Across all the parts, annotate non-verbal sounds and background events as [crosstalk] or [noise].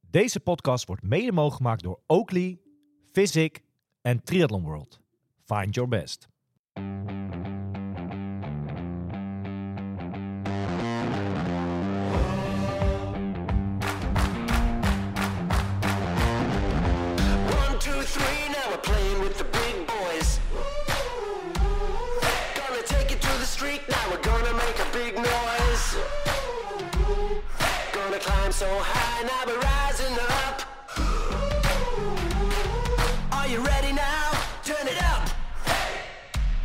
Deze podcast wordt mede mogelijk gemaakt door Oakley, Physic en Triathlon World. Find your best. One, two, three, now we're playing with the big boys. Gonna take it to the street, now we're gonna make a big noise. Gonna climb so high, now we're rising up. Are you ready now? Turn it up.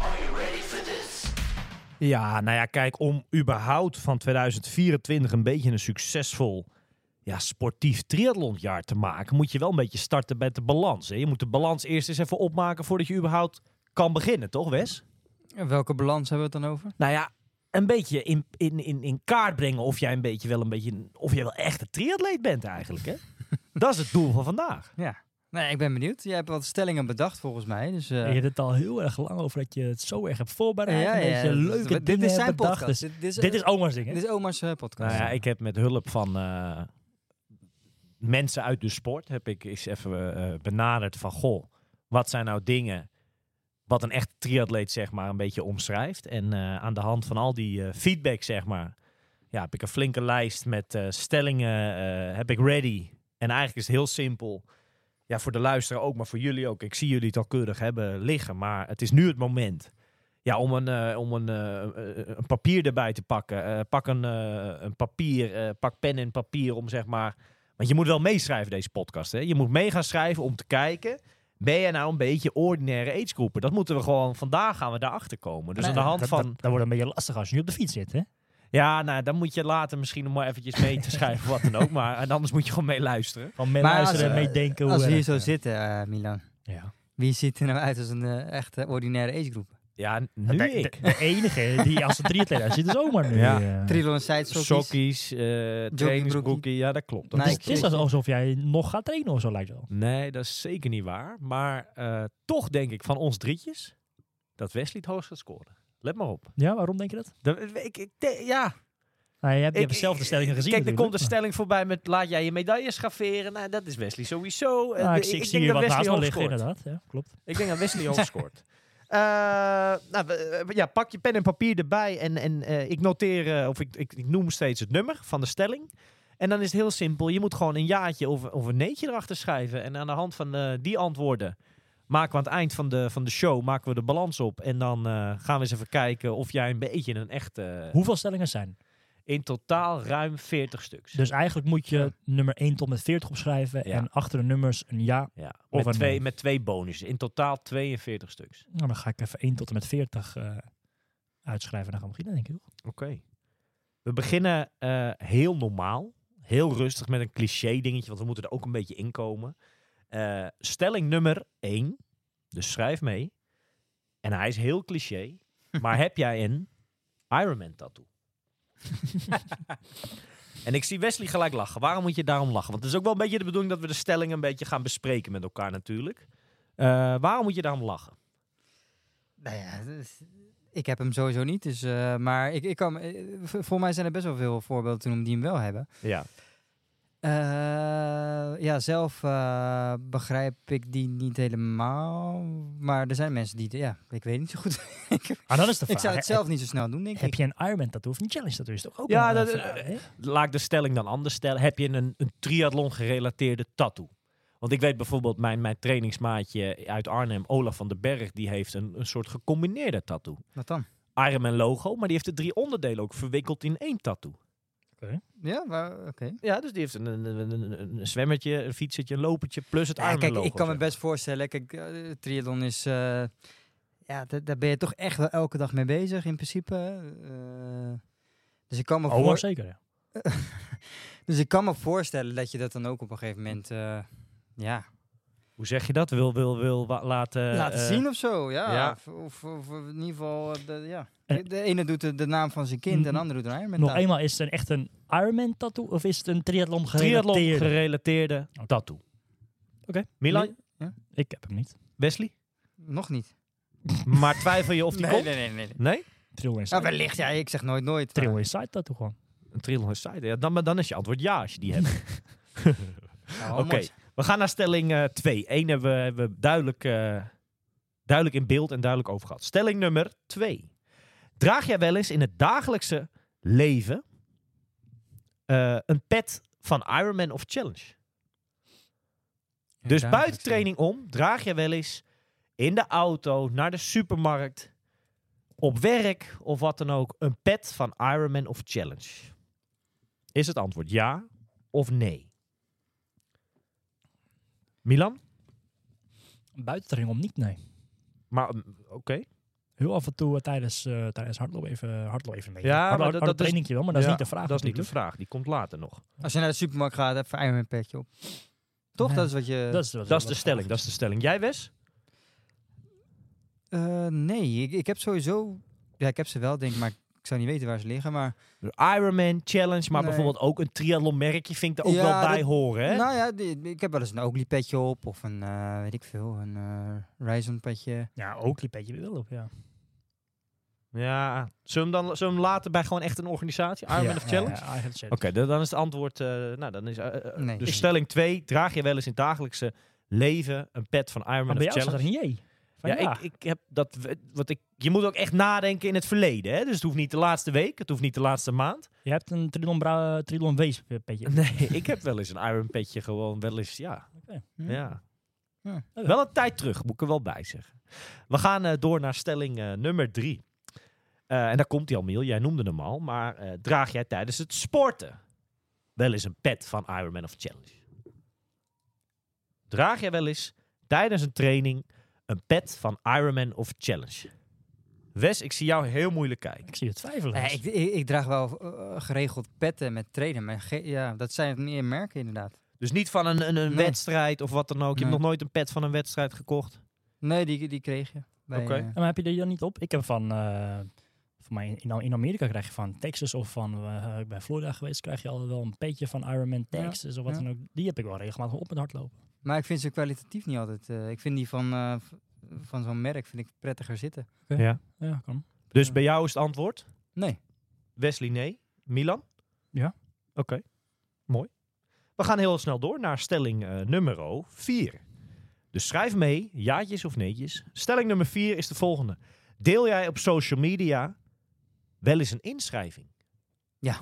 Are you ready for this? Ja, nou ja, kijk, om überhaupt van 2024 een beetje een succesvol ja, sportief triathlonjaar te maken, moet je wel een beetje starten met de balans. Hè? Je moet de balans eerst eens even opmaken voordat je überhaupt kan beginnen, toch Wes? En welke balans hebben we het dan over? Nou ja, een beetje in, in, in, in kaart brengen of jij een beetje wel een beetje, of jij wel echt een triatleet bent eigenlijk, [laughs] hè? Dat is het doel van vandaag. Ja. Nee, ik ben benieuwd. Jij hebt wat stellingen bedacht volgens mij. Dus, eh, Je hebt het al heel erg lang over dat je het zo erg hebt voorbereid. ja, en dat ja, je dat- leuke dit dingen is zijn hebt bedacht. podcast. Dus dit, dit is, eh, dit is Oma's ding, hè? dit is oma's eh, podcast. Nou ja, ik heb met hulp van eh, mensen uit de sport heb ik eens even eh, benaderd van goh, wat zijn nou dingen wat een echt triatleet zeg maar een beetje omschrijft. En eh, aan de hand van al die eh, feedback zeg maar, ja, heb ik een flinke lijst met eh, stellingen eh, heb ik ready. En eigenlijk is het heel simpel. Ja, voor de luisteraar ook, maar voor jullie ook. Ik zie jullie het al keurig hebben liggen, maar het is nu het moment. Ja, om een, eh, om een, eh, eh, een papier erbij te pakken. Eh, pak een, eh, een papier, eh, pak pen en papier om zeg maar... Want je moet wel meeschrijven deze podcast. Hè? Je moet mee gaan schrijven om te kijken... Ben je nou een beetje ordinaire agegroepen? Dat moeten we gewoon... Vandaag gaan we daarachter komen. Dus Nou, aan de hand dat- van... Dat, dat wordt een beetje lastig als je nu op de fiets zit, hè? Ja, nou, dan moet je later misschien nog maar eventjes mee [laughs] te schrijven, wat dan ook. Maar en anders moet je gewoon mee luisteren. Van mee Maar luisteren, als, eh, mee denken. als we hoe, hier eh, zo zitten, eh, Milan. ja. Wie ziet er nou uit als een eh, echte ordinaire agegroep? Ja, n- nu de, ik. de- de enige die als een triatleet uit zit is Omar nu. Ja. eh. Trilo en Sokkie. Sokkies, eh trainingsbroekie. Ja, dat klopt. Dat Dus Nee, klopt. het is alsof jij nog gaat trainen of zo lijkt wel. Nee, dat is zeker niet waar. Maar eh, toch denk ik van ons drietjes dat Wesley het hoogst gaat scoren. Let maar op. Ja, waarom denk je dat? Dat- ik, ik, de- ja, Nou, je hebt, je ik- hebt zelf de stellingen gezien Kijk, er komt een natuurlijk, stelling voorbij met laat jij je medailles graveren. Nou, dat is Wesley sowieso. maar- Eh, Nou, de- ik, zie- ik zie denk hier dat wat naast Wesley me hoog liggen, scoort. inderdaad. Ja, klopt. Ik denk dat [laughs] Wesley hoog scoort. Eh, nou, we- we- ja, pak je pen en papier erbij en, en eh, ik noteer, eh, of ik, ik, ik noem steeds het nummer van de stelling. En dan is het heel simpel. Je moet gewoon een jaartje of, of een neetje erachter schrijven. En aan de hand van eh, die antwoorden maken we aan het eind van de, van de show maken we de balans op. En dan eh, gaan we eens even kijken of jij een beetje een echte... Hoeveel stellingen zijn? In totaal ruim 40 stuks. Dus eigenlijk moet je nummer 1 tot met 40 opschrijven. Ja. En achter de nummers een ja. ja, of met, een twee, nee. met twee bonussen. In totaal 42 stuks. Nou, dan ga ik even 1 tot en met 40 eh, uitschrijven. En dan gaan we beginnen, denk ik. toch? Oké. We beginnen eh, heel normaal. Heel rustig met een cliché dingetje, want we moeten er ook een beetje in komen. Eh, stelling nummer 1. Dus schrijf mee. En hij is heel cliché. Maar heb jij een Ironman tattoo? en ik zie Wesley gelijk lachen. Waarom moet je daarom lachen? Want het is ook wel een beetje de bedoeling dat we de stelling een beetje gaan bespreken met elkaar natuurlijk. Eh, waarom moet je daarom lachen? Nou ja, dat is- ik heb hem sowieso niet. Dus, eh, maar ik, ik kan, me- eh, v- volgens mij zijn er best wel veel voorbeelden toen om die hem wel hebben. Ja. Eh, ja, zelf eh, begrijp ik die niet helemaal. Maar er zijn mensen die... de- Ja, ik weet niet zo goed. Ah, dan is de vraag. ik zou het hè, zelf niet zo snel doen, denk Heb ik. je een Ironman tattoo of een challenge tattoo? Is toch ook Ja, een, eh, dat- vraag, hè? laat ik de stelling dan anders stellen. Heb je een, een triathlon gerelateerde tattoo? Want ik weet bijvoorbeeld, mijn, mijn trainingsmaatje uit Arnhem, Olaf van den Berg, die heeft een, een soort gecombineerde tattoo. Wat dan? Ironman logo, maar die heeft de drie onderdelen ook verwikkeld in één tattoo. Ja, waar- oké. Ja, dus die heeft een, een, een, een- een zwemmertje, een fietsertje, een lopertje, plus het Ja, Ironman kijk, logo. ik kan me zeg maar. best voorstellen. Kijk, eh, triathlon is... eh, ja, da- daar ben je toch echt wel elke dag mee bezig, in principe. Eh, dus ik kan me Oh, voor- zeker. Ja. Dus ik kan me voorstellen dat je dat dan ook op een gegeven moment eh, ja, Hoe zeg je dat? Wil, wil, wil wa- laten... laten eh, zien of zo. Ja. ja. Of, of, of in ieder geval, eh, de, ja. Eh. de ene doet de, de naam van zijn kind en de Mhm. andere doet een Ironman. Nog tattoo. eenmaal, is het een, echt een Ironman tattoo of is het een triathlon gerelateerd? Triathlon gerelateerde tattoo. Oké. Milan, Ik heb hem niet. Wesley, Nog niet. maar twijfel je of die komt? nee, nee. Nee? Trail Inside. Nou, wellicht. Ja, ik zeg nooit nooit. maar- Trail Inside tattoo gewoon. [laughs] Een triathlon side. Ja, dan, dan is je antwoord ja als je die hebt. Ja, Oh, Oké, mooi. we gaan naar stelling 2. Eén hebben we, hebben we duidelijk, eh, duidelijk in beeld en duidelijk over gehad. Stelling nummer 2. Draag jij wel eens in het dagelijkse leven eh, een pet van Ironman of Challenge? Dus Ja, buiten dat- training om, draag jij wel eens in de auto, naar de supermarkt, op werk of wat dan ook, een pet van Ironman of Challenge? Is het antwoord ja of nee? Milan? Buitentraining om niet, nee. Maar mm, oké. Heel af en toe eh, tijdens, eh tijdens hardlopen even, hardlopen even mee. Ja, maar hardlopen, dat- dat is- trainingje wel, maar dat Ja, is niet de vraag Dat is niet de natuurlijk. vraag, die komt later nog. Als je naar de supermarkt gaat, heb je een petje op. Toch? Nee. Dat is wat je... Dat is, wat- Dat is wat de stelling, dat vraag is de stelling. Jij Wes? Eh, nee, ik, ik heb sowieso... Ja, ik heb ze wel, denk ik, maar ik zou niet weten waar ze liggen. Maar Ironman Challenge, maar Nee. bijvoorbeeld ook een triathlonmerkje vind ik er ook Ja, wel bij dat- horen. Hè? nou ja, die- ik heb wel eens een Oakley petje op. Of een, eh, weet ik veel, een eh Ryzen petje. Ja, ook die petje wil op, ja. Ja, zullen we, hem dan, zullen we hem laten bij gewoon echt een organisatie? Ironman ja, of Challenge? Ja, ja, Ironman Challenge. Oké, da- dan is het antwoord. eh, nou, dan is. eh, eh, eh, Nee. dus stelling 2. Draag je wel eens in het dagelijkse leven een pet van Iron Maar Man Ah, bij of jou staat er Challenge? een jee. Van Ja, ja, Ik, ik heb dat. we- Wat ik, je moet ook echt nadenken in het verleden. Hè? Dus het hoeft niet de laatste week, het hoeft niet de laatste [laughs] maand. Je hebt een Trilon, bra- Trilon Wees petje. Nee, ik heb wel eens een Iron Petje gewoon. Wel eens, ja. Hm? ja. Ja. Wel een tijd terug, moet ik er wel bij zeggen. We gaan eh, door naar stelling eh, nummer 3. en daar komt hij al, Miel. Jij noemde hem al. Maar eh, draag jij tijdens het sporten wel eens een pet van Iron Man of Challenge? Draag jij wel eens tijdens een training een pet van Iron Man of Challenge? Wes, ik zie jou heel moeilijk kijken. Ik zie het twijfelen. Nee, ik, ik, ik draag wel eh, geregeld petten met trainen. Maar ge- ja, dat zijn meer merken inderdaad. Dus niet van een, een, een Nee. wedstrijd of wat dan ook. Je hebt Nee. nog nooit een pet van een wedstrijd gekocht. Nee, die, die kreeg je. bij, Oké. eh, Ja, Maar heb je die dan niet op? Ik heb van, eh van mij in, in Amerika krijg je van Texas of van, eh, ik ben Florida geweest, krijg je al wel een petje van Ironman Ja, Texas of wat ja. dan ook. Die heb ik wel regelmatig op met hardlopen. Maar ik vind ze kwalitatief niet altijd. eh, ik vind die van, eh, v- van zo'n merk vind ik prettiger zitten. Ja. Ja, kan. Dus Ja. bij jou is het antwoord? Nee. Wesley nee. Milan? Ja. Oké, mooi. We gaan heel snel door naar stelling eh nummer 4. Dus schrijf mee, jaatjes of neetjes. Stelling nummer 4 is de volgende. Deel jij op social media wel eens een inschrijving? Ja.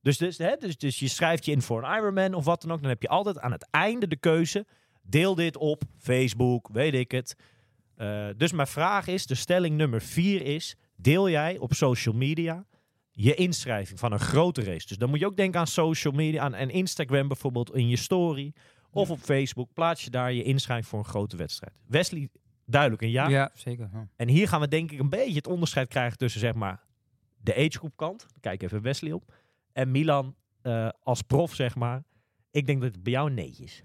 Dus, dus, hè, dus, dus je schrijft je in voor een Ironman of wat dan ook. Dan heb je altijd aan het einde de keuze. Deel dit op Facebook, weet ik het. Eh, dus mijn vraag is, de stelling nummer 4 is... Deel jij op social media je inschrijving van een grote race. Dus dan moet je ook denken aan social media, aan, aan Instagram bijvoorbeeld, in je story. Of op Facebook plaats je daar je inschrijving voor een grote wedstrijd. Wesley, duidelijk een ja. zeker. ja. En hier gaan we denk ik een beetje het onderscheid krijgen tussen zeg maar de agegroep kant. Kijk even Wesley op. En Milan eh, als prof zeg maar. Ik denk dat het bij jou een nee is.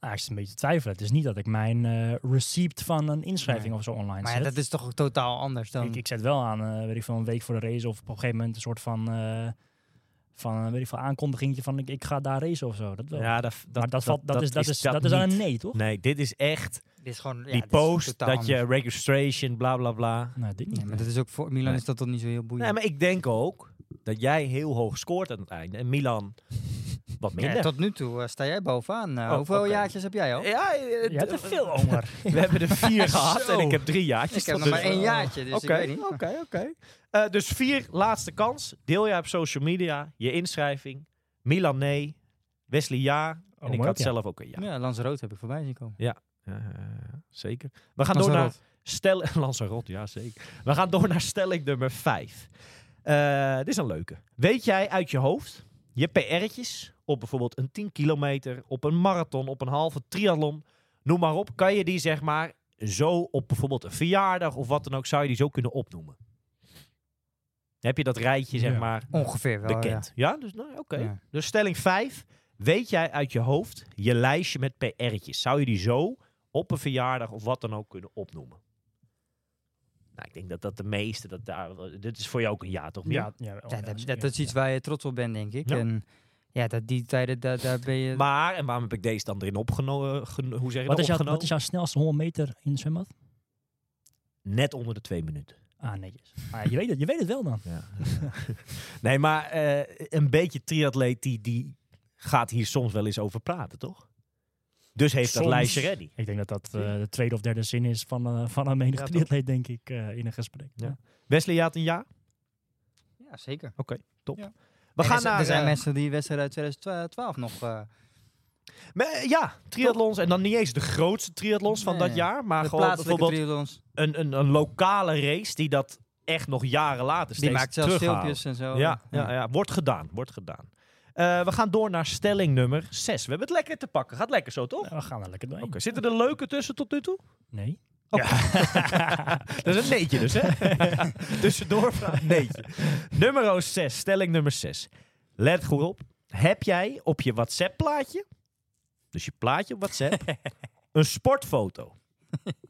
Ah, ik zit een beetje te twijfelen. Het is niet dat ik mijn eh receipt van een inschrijving Nee. of zo online Maar ja, zet. dat is toch ook totaal anders dan... ik, ik zet wel aan, eh, weet ik veel, een week voor de race of op een gegeven moment een soort van, eh, van eh, weet ik veel, aankondigingje van ik, ik ga daar racen of zo. Dat wel. Ja, dat, maar dat, valt, dat, is, dat, is, dat, is niet. aan een nee, toch? Nee, dit is echt dit is gewoon, ja, die dit is post totaal dat je anders. registration bla bla bla. Nee, dit niet. Nee, maar dat is ook voor Milan Nee. is dat toch niet zo heel boeiend. Nee, maar ik denk ook dat jij heel hoog scoort aan het einde. En Milan wat Ja, minder. tot nu toe eh, sta jij bovenaan. Eh, Oh, hoeveel oké. jaartjes heb jij al? Ja, eh, Je hebt d- er [laughs] veel, Omar. we hebben er vier gehad [laughs] Zo. en ik heb drie jaartjes. ik heb tot nog maar nu één toe. jaartje, dus ik Oké, weet niet. oké, oké. Eh, Dus vier, laatste kans. Deel jij op social media je inschrijving. Milan nee, Wesley ja. En Omar ik Oh, ook, had ja. zelf ook een ja. Ja, Lanzarote heb ik voorbij zien komen. Ja, eh, zeker. We gaan door naar, Lanzarote. Stel [laughs] Lanzarote, ja zeker. We gaan door naar stelling nummer 5. dit is een leuke. Weet jij uit je hoofd je PR'tjes op bijvoorbeeld een 10 kilometer, op een marathon, op een halve triathlon, noem maar op, kan je die zeg maar zo op bijvoorbeeld een verjaardag of wat dan ook, zou je die zo kunnen opnoemen? Heb je dat rijtje zeg Ja. maar Ongeveer wel, bekend? Ja, dus nou, oké. Ja. Dus stelling 5. Weet jij uit je hoofd je lijstje met PR'tjes? Zou je die zo op een verjaardag of wat dan ook kunnen opnoemen? Nou, ik denk dat dat de meeste dat daar. Dit is voor jou ook een Oh, ja, toch? Miel? Ja, ja, wel, Ja, ja, dat, dat, zeker. dat is iets waar je trots op bent, denk ik. Ja. En ja, dat die tijden, daar, daar ben je... Maar, en waarom heb ik deze dan erin opgenomen? Hoe zeg je Wat dat? is, jouw, Opgenomen? wat is jouw snelste 100 meter in het zwembad? Net onder de twee minuten. Ah, netjes. Ah, je, weet het, je weet het wel dan. nee, maar eh, een beetje triatleet die, die gaat hier soms wel eens over praten, toch? Dus heeft Soms. dat lijstje ready. Ik denk dat dat eh, de tweede of derde zin is van, eh, van een menig Ja, toch? triatleet, denk ik, eh, in een gesprek. Ja. Wesley, ja, een ja? Ja, zeker. Top. Ja. We En gaan er, zijn- naar... er zijn eh, mensen die wedstrijd uit 2012 nog... eh, me- eh, ja, triathlons. En dan niet eens de grootste triathlons van Nee, dat nee. jaar. Maar de gewoon plaatselijke bijvoorbeeld triathlons. een, een, een lokale race die dat echt nog jaren later steeds Die maakt zelfs terughaalt. filmpjes en zo. Ja, ja, ja, wordt gedaan, wordt gedaan. Eh, we gaan door naar stelling nummer 6. We hebben het lekker te pakken. Gaat lekker zo, toch? Nou, we gaan er lekker doorheen. Oké, Zitten er leuke tussen tot nu toe? Nee. [laughs] Dat is een neetje dus, [laughs] hè? Tussendoor vraag neetje. Nummer 6, stelling nummer 6. Let goed op. Heb jij op je WhatsApp-plaatje, dus je plaatje op [laughs] WhatsApp, een sportfoto?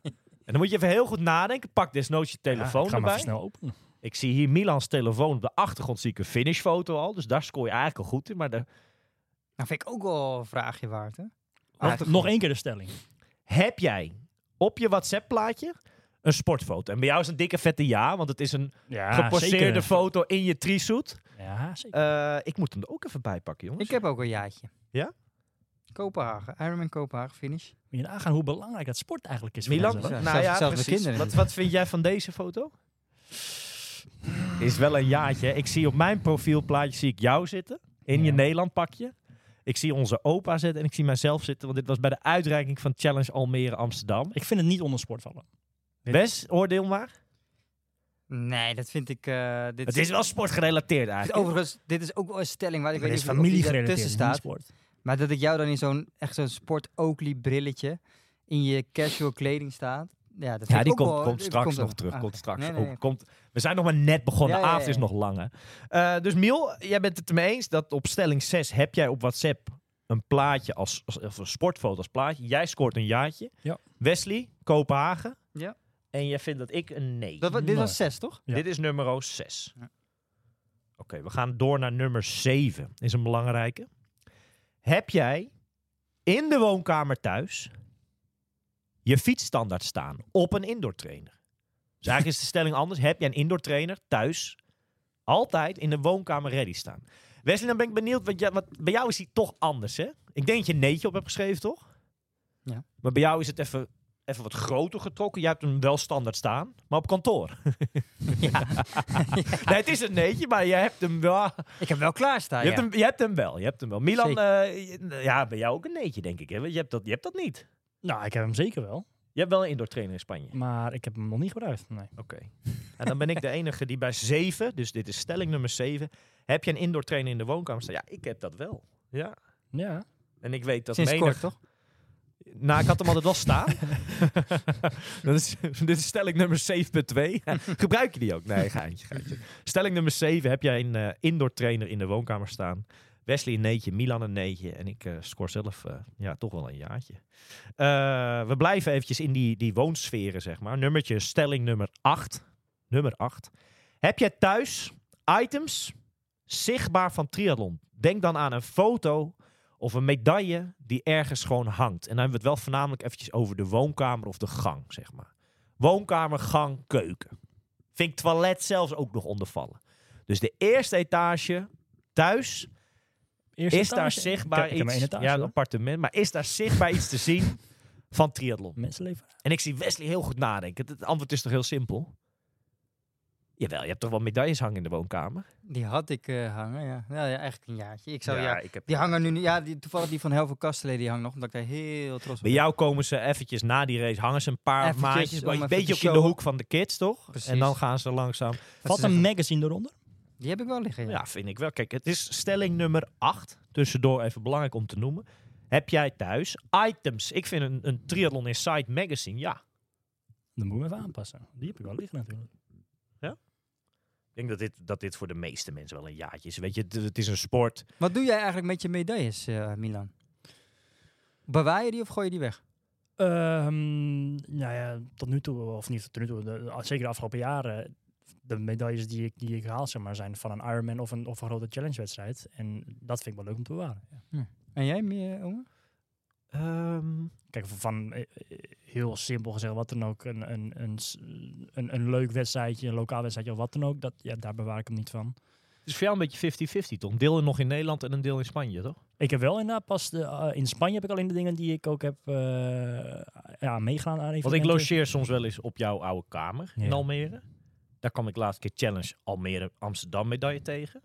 En dan moet je even heel goed nadenken. Pak desnoods je Ja, telefoon ik ga maar erbij. even snel openen. Ik zie hier Milans telefoon. Op de achtergrond zie ik een finishfoto al. Dus daar scoor je eigenlijk al goed in. Maar de, Nou vind ik ook wel een vraagje waard, hè? Ah, Nog- nog één keer de stelling. heb jij op je WhatsApp-plaatje een sportfoto? En bij jou is een dikke vette ja, want het is een Ja, geposeerde Ah, zeker. foto in je trisuit. Ja, zeker. Eh ik moet hem er ook even bij pakken, jongens. Ik heb ook een jaartje. Ja? Kopenhagen. Ironman Kopenhagen finish. Moet je nagaan hoe belangrijk dat sport eigenlijk is. voor Milan, mensen, Ja, hoor. nou ja, zelfs- zelfs de precies. kinderen Wat, niet. wat vind jij van deze foto? Is wel een jaartje. hè. Ik zie op mijn profielplaatje zie ik jou zitten in je Ja. Nederland pakje. Ik zie onze opa zitten en ik zie mijzelf zitten, want dit was bij de uitreiking van Challenge Almere Amsterdam. Ik vind het niet onder sport vallen. Wes, oordeel maar. Nee, dat vind ik... eh, dit Het is wel sportgerelateerd dit- eigenlijk. Overigens, dit is ook wel een stelling waar ik Het weet is niet of die familie ertussen niet staat. sport. Maar dat ik jou dan in zo'n echt zo'n sport Oakley brilletje in je casual kleding staat. Ja, dat vind Ja, ik die ook komt, wel- komt die straks ook- nog terug. ah, Komt straks. nee, nee, ook. nee. Komt, we zijn nog maar net begonnen. Ja, de ja, avond ja. is nog langer. Eh, dus Miel, jij bent het ermee eens dat op stelling 6 heb jij op WhatsApp een plaatje als, als of een sportfoto als plaatje. Jij scoort een jaartje. Ja. Wesley, Kopenhagen. Ja. En jij vindt dat ik een nee. Dat, wa- dit Nee. was zes, toch? Ja. Dit is nummer 6. Ja. Oké, we gaan door naar nummer 7. Is een belangrijke. Heb jij in de woonkamer thuis je fietsstandaard staan op een indoor trainer? Dus eigenlijk is de stelling anders. Heb jij een indoor trainer thuis altijd in de woonkamer ready staan? Wesley, dan ben ik benieuwd, want ja, wat, bij jou is die toch anders, hè? Ik denk dat je een neetje op hebt geschreven, toch? Ja. Maar bij jou is het even, even wat groter getrokken. Jij hebt hem wel standaard staan, maar op kantoor. Nee, het is een neetje, maar je hebt hem wel. Ik heb wel klaarstaan, je, hebt Ah, ja. hem, je hebt hem wel. Je hebt hem wel. Milan, eh, je- ja, bij jou ook een neetje, denk ik. Hè? Want Je, hebt dat, je hebt dat niet. Nou, ik heb hem zeker wel. Je hebt wel een indoor trainer in Spanje. Maar ik heb hem nog niet gebruikt. Nee. Oké. [laughs] En dan ben ik de enige die bij zeven, dus dit is stelling nummer zeven, heb je een indoor trainer in de woonkamer staan? Ja, ik heb dat wel. Ja. Ja. En ik weet dat Sinds menig- kort, toch? Nou, ik had hem altijd wel staan. [laughs] dat is, dit is stelling nummer 7.2. Gebruik je die ook? Nee, geintje, geintje. Stelling nummer 7. Heb jij een eh, indoor trainer in de woonkamer staan? Wesley een neetje, Milan een neetje. En ik eh, scoor zelf eh, ja, toch wel een jaartje. Eh, we blijven eventjes in die, die woonsferen, zeg maar. Nummertje, stelling nummer 8. Nummer 8. Heb jij thuis items zichtbaar van triathlon? Denk dan aan een foto of een medaille die ergens gewoon hangt. En dan hebben we het wel voornamelijk eventjes over de woonkamer of de gang, zeg maar. Woonkamer, gang, keuken. Vind ik toilet zelfs ook nog ondervallen. Dus de eerste etage thuis Eerste is daar etage. zichtbaar ik heb, ik heb iets. maar één etage, ja, een hoor. appartement. Maar is daar zichtbaar iets te zien van triathlon? Mensenleven. En ik zie Wesley heel goed nadenken. Het- Het antwoord is toch heel simpel? Jawel, je hebt toch wel medailles hangen in de woonkamer? Die had ik eh, hangen, ja. ja. ja, Eigenlijk een jaartje. Ik zou, ja, ik heb... Die hangen nu niet. Ja, die, toevallig die van Helvo Kastelen die hangt nog, omdat ik daar heel trots op Bij ben. jou komen ze eventjes na die race, hangen ze een paar Eventjes maandjes. om Een even beetje te ook in de showen. hoek van de kids, toch? Precies. En dan gaan ze langzaam. Dat Valt ze een zeggen- magazine eronder? Die heb ik wel liggen, ja. Ja, vind ik wel. Kijk, het is stelling nummer 8. Tussendoor even belangrijk om te noemen. Heb jij thuis items? Ik vind een, een Triathlon Inside magazine, ja. Dan moet ik hem even aanpassen. Die heb ik wel liggen natuurlijk. Ik denk dat dit, dat dit voor de meeste mensen wel een jaartje is. Weet je, het, het is een sport. Wat doe jij eigenlijk met je medailles, eh, Milan? Bewaar je die of gooi je die weg? Ehm, nou ja, tot nu toe, of niet tot nu toe, de- de- zeker de afgelopen jaren, de medailles die ik, die ik haal, zeg maar, zijn van een Ironman of een, of een grote challengewedstrijd. En dat vind ik wel leuk om te bewaren. ja. En jij, eh, Omer? Ehm, Kijk, van eh, eh, heel simpel gezegd, wat dan ook, een, een, een, s- een, een leuk wedstrijdje, een lokaal wedstrijdje of wat dan ook, dat, ja, daar bewaar ik hem niet van. is voor jou een beetje 50-50, toch? Een deel nog in Nederland en een deel in Spanje, toch? Ik heb wel inderdaad pas de, eh, in Spanje heb ik alleen de dingen die ik ook heb eh, ja, meegedaan aan Want ik evenementen. logeer soms wel eens op jouw oude kamer in Ja. Almere. Daar kwam ik laatst keer Challenge Almere Amsterdam medaille tegen.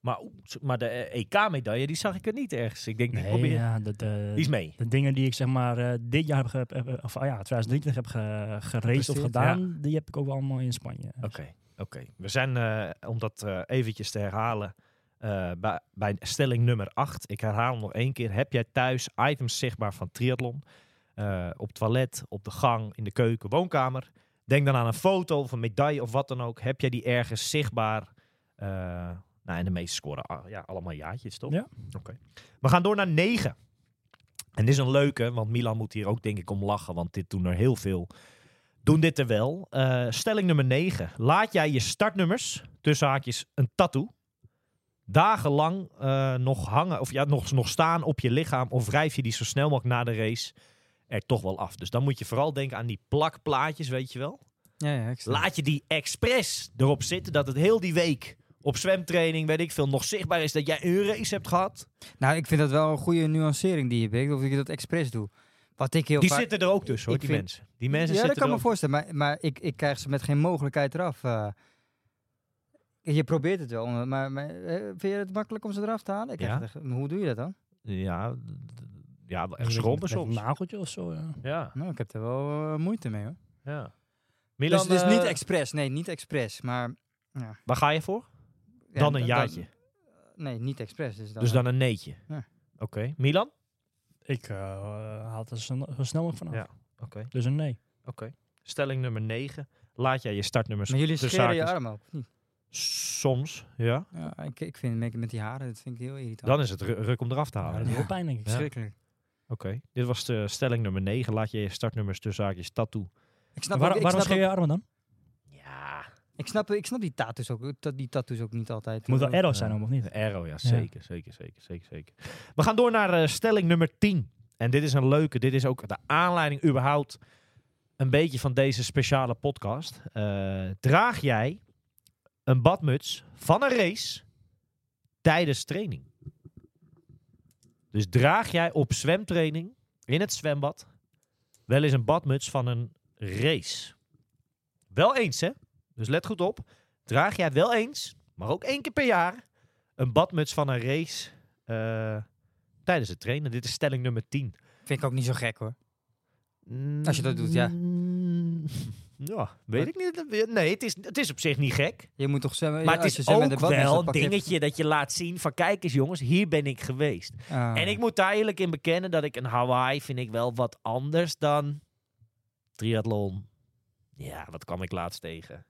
Maar, oeh, maar de eh, EK medaille, die zag ik er niet ergens. Ik denk, die, Nee, probeer, ja, dat, eh, die is mee. de dingen die ik zeg maar eh, dit jaar heb, ge- heb- heb- of ah ja, 2023 heb ge, geraced of Gepresteerd, gedaan, die heb ik ook wel allemaal in Spanje. Oké, oké. We zijn, eh, om dat eh, eventjes te herhalen, eh, bij, bij stelling nummer 8. Ik herhaal hem nog één keer. Heb jij thuis items zichtbaar van triathlon? Eh, op het toilet, op de gang, in de keuken, woonkamer. Denk dan aan een foto of een medaille of wat dan ook. Heb jij die ergens zichtbaar? Eh, nou, en de meeste scoren ah, ja, allemaal jaartjes, toch? Ja. Oké. We gaan door naar 9. En dit is een leuke, want Milan moet hier ook denk ik om lachen, want dit doen er heel veel doen dit er wel. Eh, stelling nummer 9. Laat jij je startnummers, tussen haakjes, een tattoo, dagenlang eh, nog hangen, of ja, nog, nog staan op je lichaam, of wrijf je die zo snel mogelijk na de race er toch wel af. Dus dan moet je vooral denken aan die plakplaatjes, weet je wel. Ja, ja, ik snap. Laat je die expres erop zitten, dat het heel die week op zwemtraining, weet ik veel, nog zichtbaar is dat jij een race hebt gehad. Nou, ik vind dat wel een goede nuancering die je brengt. Of ik dat expres doe. Wat ik heel Die vaak... zitten er ook tussen, hoor, Ik die vind- mensen. Die mensen ja, dat zitten er kan me ook voorstellen. Maar, maar ik, ik krijg ze met geen mogelijkheid eraf. eh. je probeert het wel. Maar, maar eh, vind je het makkelijk om ze eraf te halen? Ik krijg Ja. het echt- maar hoe doe je dat dan? Ja, d- d- ja, wel echt Met- schrobben met Een soms. nageltje of zo, ja. Ja. Nou, ik heb er wel eh, moeite mee hoor. Ja. Dus, Milan, dus niet eh, expres. Nee, niet expres. Maar... ja, waar ga je voor? ja, dan een jaartje. nee, niet expres. Dus dan, dus dan een neetje. Ja. Oké. Milan? Ik eh haal het er zo, zo snel mogelijk vanaf. Ja. Oké. Dus een nee. Oké. Stelling nummer 9. Laat jij je startnummers Maar jullie tussen scheren je haakjes- arm ook, of niet? Soms, ja. Ja, ik, ik vind met- met die haren, dat vind ik heel irritant. Dan is het ru- ruk om eraf te Ja, halen. dat Oké. is wel pijn, denk ik. Ja. Verschrikkelijk. Dit was de stelling nummer 9. Laat je je startnummers tussen haakjes tattoo. Ik snap, Waar- ook- Nou, ik, waarom snap scheer ook- je armen dan? Ja. ik, snap, ik snap die tattoos ook, dat- die tattoos ook niet altijd. eh, Het moet wel hoor. arrows zijn, om, of niet? De arrow, ja. Zeker, zeker, zeker, zeker, zeker. We gaan door naar eh, stelling nummer 10. En dit is een leuke. Dit is ook de aanleiding überhaupt een beetje van deze speciale podcast. Eh, draag jij een badmuts van een race tijdens training? Dus draag jij op zwemtraining in het zwembad wel eens een badmuts van een race? Wel eens, hè? Dus let goed op. Draag jij wel eens, maar ook één keer per jaar, een badmuts van een race eh, tijdens het trainen? Dit is stelling nummer 10. Vind ik ook niet zo gek hoor. Als je dat doet, ja. Mm, [laughs] Ja, weet ik niet. Nee, het is, het is op zich niet gek. Je moet toch zwemmen. Maar ja, het als is je zwemmen in ook de badmuts, wel dan een pak je- dingetje dat je laat zien van kijk eens jongens, hier ben ik geweest. Ah. En ik moet daar eerlijk in bekennen dat ik een Hawaii vind ik wel wat anders dan triathlon. Ja, wat kwam ik laatst tegen?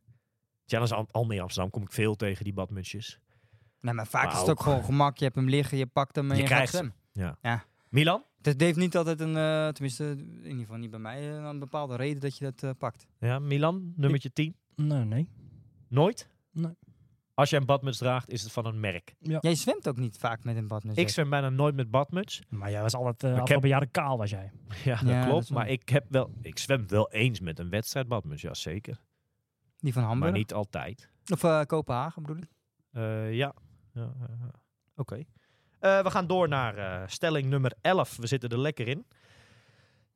Challenge Al- Almere Amsterdam kom ik veel tegen die badmutsjes. Nee, maar vaak Maar is het ook ook- gewoon gemak. Je hebt hem liggen, je pakt hem en Je je, krijgt gaat zwemmen. Milan? Het heeft niet altijd een, eh, tenminste in ieder geval niet bij mij, eh, een bepaalde reden dat je dat eh, pakt. Ja, Milan, nummertje 10. Nee, nee. Nooit? Nee. Als jij een badmuts draagt, is het van een merk. Jij zwemt ook niet vaak met een badmuts. Ik hè? zwem bijna nooit met badmuts. Maar jij was altijd, eh heb- afgelopen jaren kaal was jij. Ja, dat Ja, dat klopt. is wel- maar ik, heb wel, ik zwem wel eens met een wedstrijdbadmuts, ja zeker. Die van Maar Hamburg. niet altijd. Of eh, Kopenhagen bedoel ik. Eh, ja. ja eh, Oké. Eh, we gaan door naar eh, stelling nummer 11. We zitten er lekker in.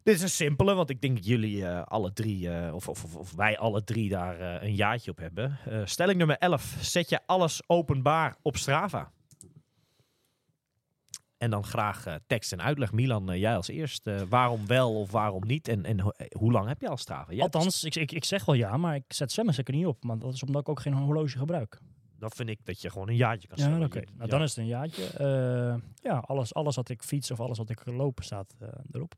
Dit is een simpele, want ik denk dat jullie eh, alle drie, eh, of, of, of- of wij alle drie daar eh, een jaartje op hebben. Eh, stelling nummer 11. Zet je alles openbaar op Strava? En dan graag eh, tekst en uitleg. Milan, eh, jij als eerst. Eh, waarom wel of waarom niet? En, en ho- eh, hoe lang heb je al Strava? Jij hebt- Althans, ik, ik, ik zeg wel ja, maar ik zet zwemmen zeker niet op. Maar dat is omdat ik ook geen horloge gebruik. Dan vind ik dat je gewoon een jaartje kan Ja, stellen. oké. Je- Nou, ja. dan is het een jaartje. Eh, ja, alles, alles wat ik fiets of alles wat ik loop staat eh, erop.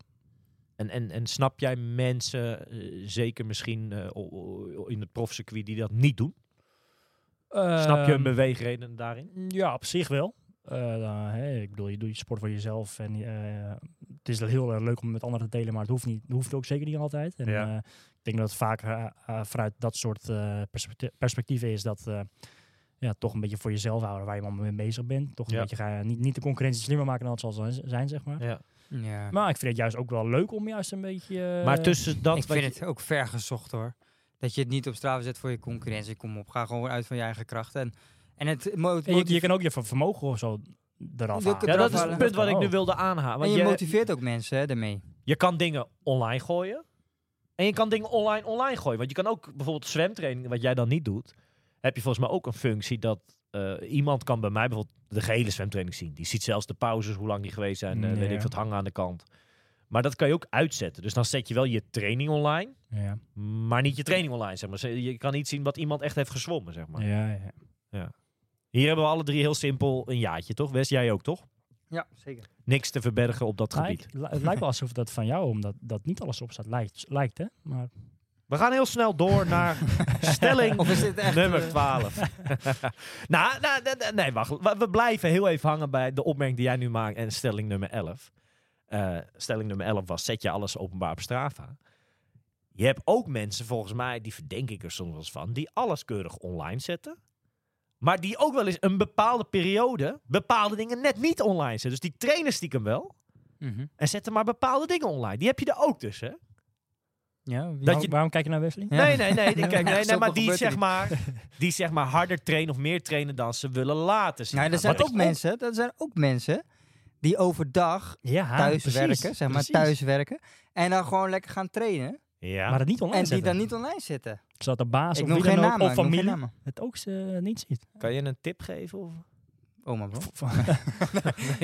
En, en, en snap jij mensen, eh, zeker misschien eh, o- o- in het profcircuit, die dat niet doen? snap je hun Ehm, beweegreden daarin? mm, Ja, op zich wel. Eh, nou, hè, ik bedoel, je doet je sport voor jezelf. En eh, het is heel erg leuk om met anderen te delen, maar het hoeft, niet, het hoeft ook zeker niet altijd. En, Ja. eh, ik denk dat het vaak eh, eh, vanuit dat soort eh, perspectie- perspectieven is dat eh, ja, toch een beetje voor jezelf houden waar je allemaal mee bezig bent. Toch een Ja. beetje ga, niet, niet de concurrentie slimmer maken dan het zal zijn- zijn, zeg maar. Ja. Ja. Maar ik vind het juist ook wel leuk om juist een beetje... eh, maar tussen dat... ik wat vind het ook ver gezocht hoor. Dat je het niet op Strava zet voor je concurrentie. Kom op, ga gewoon uit van je eigen krachten. En, En het mo- En je, je motive- kan ook je ver- vermogen of zo eraf Je halen. kunt Ja, dat is eraf het kan punt wat ik nu ook. wilde aanhalen. en Want je, je, motiveert ook mensen hè, daarmee. je kan dingen online gooien. En je kan dingen online online gooien. Want je kan ook bijvoorbeeld zwemtraining, wat jij dan niet doet, heb je volgens mij ook een functie dat eh, iemand kan bij mij bijvoorbeeld de gehele zwemtraining zien. Die ziet zelfs de pauzes, hoe lang die geweest zijn, eh, weet Ja. ik wat hangen aan de kant. Maar dat kan je ook uitzetten. Dus dan zet je wel je training online, Ja, maar niet je training online. Zeg maar. Ze- Je kan niet zien wat iemand echt heeft gezwommen. Zeg maar. ja, ja. Hier hebben we alle drie heel simpel een jaartje, toch? Wes, jij ook, toch? Ja, zeker. Niks te verbergen op dat gebied. Lijkt- li- het lijkt wel alsof dat van jou, omdat dat niet alles op staat, lijkt, lijkt hè? Maar We gaan heel snel door naar [laughs] stelling Of is dit echt, nummer eh, [laughs] 12. nou, nou, d- d- nee, wacht. We we blijven heel even hangen bij de opmerking die jij nu maakt en stelling nummer 11. Eh, stelling nummer 11 was, zet je alles openbaar op Strava? Je hebt ook mensen, volgens mij, die verdenk ik er soms wel eens van, die alles keurig online zetten. Maar die ook wel eens een bepaalde periode bepaalde dingen net niet online zetten. Dus die trainen stiekem wel Mhm. en zetten maar bepaalde dingen online. Die heb je er ook dus, hè? Ja, wie- Dat waarom, je- waarom kijk je naar Wesley? Ja. Nee, nee, nee. ik- Kijk, nee, nee Zoveel maar die gebeurt er zeg niet. maar, [laughs] die zeg maar harder trainen of meer trainen dan ze willen laten zien. Nou, er zijn Wat ook ik mensen, er zijn ook mensen die overdag Ja, thuis Ah, precies, Dus- werken, zeg maar precies. thuis werken. En dan gewoon lekker gaan trainen. Ja. Maar het niet online en die zetten. dan niet online zitten. Zodat de baas ik of, noem wie geen dan ook, namen. of ik noem geen familie namen. het ook eh, niet ziet. Kan je een tip geven? Of? Oh, maar bro.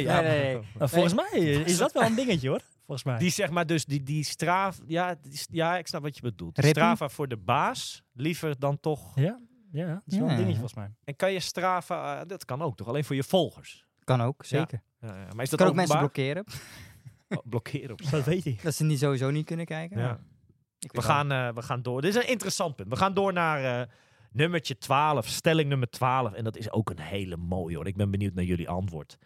Ja, [laughs] nee, nee. maar- Eh, volgens [laughs] mij is dat wel een dingetje hoor. Volgens mij. Die zeg maar dus, die, die straf... Ja, die, ja, ik snap wat je bedoelt. Rippie? Strava voor de baas, liever dan toch... Ja, ja, dat is wel Ja. een dingetje volgens mij. En kan je Strava... eh, dat kan ook toch? Alleen voor je volgers. Kan ook, zeker. Ja, ja. Maar is Je dat kan ook mensen openbaar? blokkeren. Oh, blokkeren op Dat weet hij. [laughs] Dat ze niet sowieso niet kunnen kijken. Ja. Nou, ik We weet gaan, eh, we gaan door. Dit is een interessant punt. We gaan door naar eh, nummertje 12, stelling nummer 12. En dat is ook een hele mooie hoor. Ik ben benieuwd naar jullie antwoord.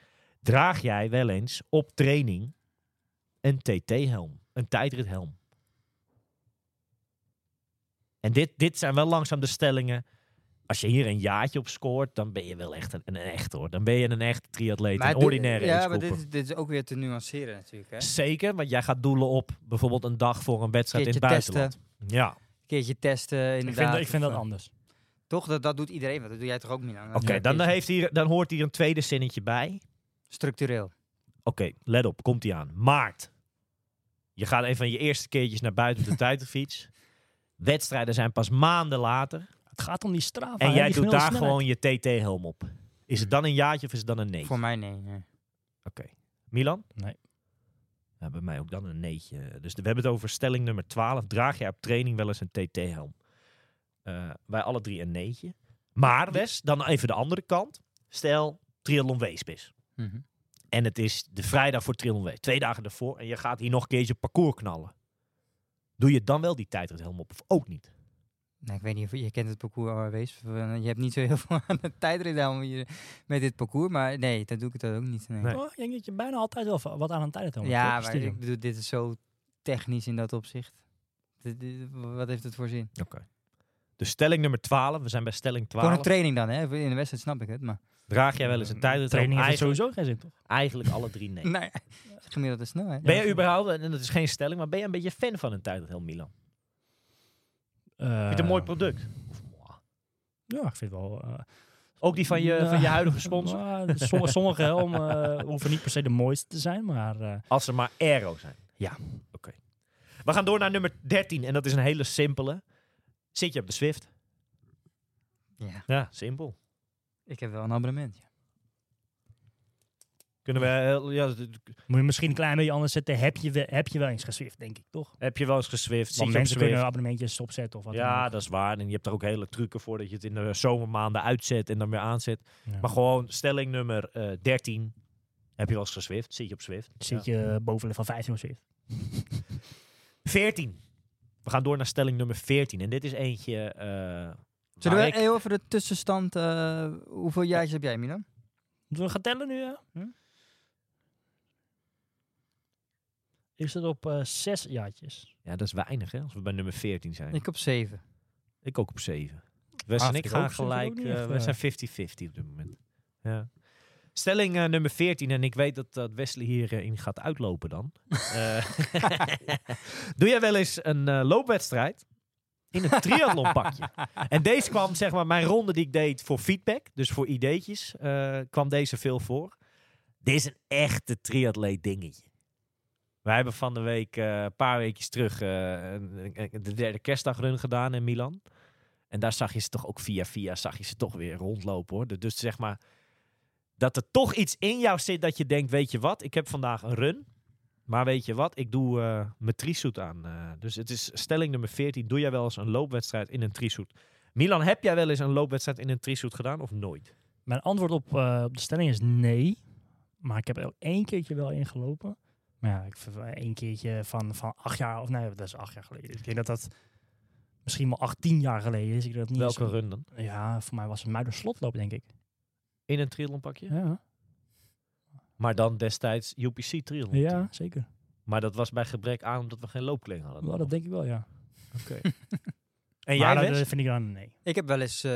Draag jij wel eens op training een TT-helm, een tijdrithelm? En dit, dit zijn wel langzaam de stellingen. Als je hier een jaartje op scoort, dan ben je wel echt een, een echt hoor. Dan ben je een echt triatleet, Maar een dit- ordinaire Ja, maar racekoper. dit is, dit is ook weer te nuanceren natuurlijk. Hè? Een Zeker, want jij gaat doelen op bijvoorbeeld een dag voor een wedstrijd in keertje het testen. buitenland. Ja. keertje testen, inderdaad. Ik vind, dat- ik vind Of, dat eh, anders. Toch, dat, dat doet iedereen. want Dat doe jij toch ook, Milan? Oké, dan, heeft hier, dan hoort hier een tweede zinnetje bij. Oké, Structureel. let op, komt ie aan. Maart. Je gaat een van je eerste keertjes naar buiten op de tijdfiets. Wedstrijden zijn pas maanden later. Het gaat om die Strava. en hè, jij die doet daar gemiddelde snelheid. gewoon je TT-helm op. Is het dan een jaartje of is het dan een nee? Voor mij nee. nee. Oké. Milan? Nee. Ja, bij mij ook dan een neetje. Dus we hebben het over stelling nummer 12. Draag jij op training wel eens een TT-helm? Eh, wij alle drie een neetje. Maar Wes, dan even de andere kant. Stel, triathlon weespis. Mhm. En het is de vrijdag voor Triathlon Week. Twee dagen ervoor. En je gaat hier nog een keertje parcours knallen. Doe je dan wel die tijdrit helemaal op of ook niet? Nou, ik weet niet of je kent het parcours alweer. eh, Je hebt niet zo heel [laughs] veel aan de tijdrit helemaal hier met dit parcours. Maar nee, dat doe ik dat ook niet. Nee. Nee. gewoon- Oh, ik denk dat je bijna altijd wel va- wat aan een tijd hebt. Ja, maar ik bedoel, dit is zo technisch in dat opzicht. Dit- dit- wat heeft het voor zin? Oké. Dus stelling nummer 12. We zijn bij stelling Voor een 12. training dan, hè? In de wedstrijd snap ik het, maar... Draag jij wel eens een tijdrit helm? Mm, Eh, Training heeft Eigenlijk, sowieso geen zin, toch? eigenlijk alle drie nee. [laughs] Nee, gemiddelde snelheid. Ben je überhaupt, en dat is geen stelling, maar ben je een beetje fan van een tijdrit helm, Milan? Vind je het een mooi product? Of, mwah. Eh, Ja, ik vind wel... eh, Ook die van je, nou, van je huidige sponsor? [laughs] nou, som- sommige helmen eh, hoeven niet per se de mooiste te zijn, maar... eh, Als ze maar aero zijn. Ja. Oké. We gaan door naar nummer 13. En dat is een hele simpele. Zit je op de Swift? Ja, Ja, simpel. ik heb wel een abonnement. Ja. Kunnen we, eh, ja, d- d- moet je misschien een klein beetje anders zetten. Heb je, we- heb je wel eens geswift, denk ik, toch? heb je wel eens geswift? Zit Want je op mensen kunnen Zwift? abonnementjes opzetten of wat dan Ja, ook. dat is waar. En je hebt er ook hele trucken voor dat je het in de zomermaanden uitzet en dan weer aanzet. Ja. Maar gewoon stelling nummer eh, 13. Heb je wel eens geswift? Zit je op Swift? Zit je boven de van 15 of Zwift? 14. We gaan door naar stelling nummer 14. En dit is eentje. eh, Zullen waar we ik- heel even de tussenstand... eh, hoeveel jaartjes heb jij, Milan? Moeten we gaan tellen nu? eh? ja? Hm? Ik zit op eh, zes jaartjes. Ja, dat is weinig hè, als we bij nummer 14 zijn. Ik, Ik op zeven. ook op 7. Wes Ah, en vind ik ik gaan ook- vind ik ook gelijk. niet eh, echt, we eh. zijn 50-50 op dit moment. Ja. Stelling eh, nummer 14. En ik weet dat, dat Wesley hierin gaat [laughs] [laughs] uitlopen dan. Eh, Doe jij wel eens een eh, loopwedstrijd? In een [laughs] triathlonpakje. en deze kwam, zeg maar, mijn ronde die ik deed voor feedback, dus voor ideetjes, eh, kwam deze veel voor. Dit is een echte triatleet dingetje. Wij hebben van de week, eh, een paar weekjes terug, eh, een- een- de derde kerstdagrun gedaan in Milan. En daar zag je ze toch ook via via, zag je ze toch weer rondlopen hoor. Dus zeg maar, dat er toch iets in jou zit dat je denkt, weet je wat, ik heb vandaag een run. Maar weet je wat, ik doe eh mijn trisuit aan. eh. dus het is stelling nummer 14, doe jij wel eens een loopwedstrijd in een trisuit? Milan, heb jij wel eens een loopwedstrijd in een trisuit gedaan of nooit? Mijn antwoord op, eh, op de stelling is nee. Maar ik heb er één keertje wel ingelopen. Maar ja, ik vind wel één keertje van, van acht jaar, of nee, dat is acht jaar geleden. Ik denk dat dat misschien wel acht, tien jaar geleden is. Ik denk dat niet Welke eens- run dan? Ja, voor mij was het Muiderslotloop, denk ik. In een triathlonpakje? Ja, Maar dan destijds UPC triathlon. ja zeker. Maar dat was bij gebrek aan omdat we geen loopkleding hadden. Wel, dat denk ik wel, ja. [laughs] En Maar jij dat Wes? eh, vind ik dan nee. Ik heb wel eens eh,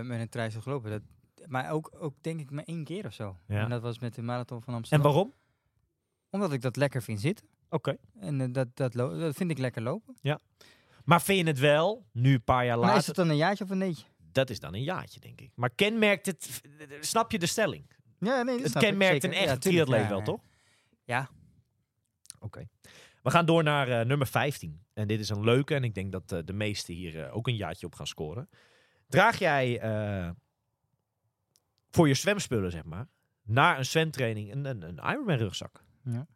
met een trein gelopen. Dat, maar ook, ook denk ik maar één keer of zo. Ja. En dat was met de marathon van En Amsterdam. waarom? Omdat ik dat lekker vind zitten. Oké. En eh, dat, dat, lo- dat vind ik lekker lopen. Maar vind je het wel, nu een paar jaar Maar later, is het dan een jaartje of een neetje? dat is dan een jaartje denk ik. Maar kenmerkt het, snap je de stelling? Ja, nee, dat Het snap ik, kenmerkt zeker. een echte Ja, tuurlijk, triatleet ja, wel, ja. toch? Ja. Oké. We gaan door naar eh, nummer 15. En dit is een leuke en ik denk dat eh, de meesten hier eh, ook een jaartje op gaan scoren. Draag jij eh, voor je zwemspullen, zeg maar, naar een zwemtraining een, een, een Ironman rugzak? Ja,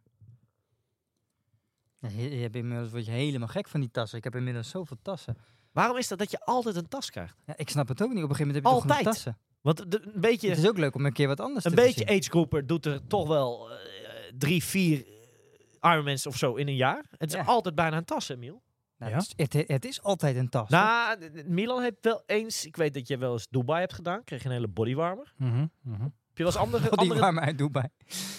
je, je hebt inmiddels word je helemaal gek van die tassen. Ik heb inmiddels zoveel tassen. Waarom is dat dat je altijd een tas krijgt? Ja, ik snap het ook niet. Op een gegeven moment heb je toch genoeg Altijd. tassen. Want de- een beetje, Het is ook leuk om een keer wat anders een te beetje zien. agegroeper doet er toch wel eh, drie, vier Ironmans of zo in een jaar. Het is Ja. altijd bijna een tas, Emiel. Nou, Ja? het, is, het, het is altijd een tas. toch? e- Nou, d- d- Milan heeft wel eens, ik weet dat je wel eens Dubai hebt gedaan, kreeg je een hele bodywarmer. Mhm, Heb je wel eens [laughs] andere, Al die andere warme uit Dubai.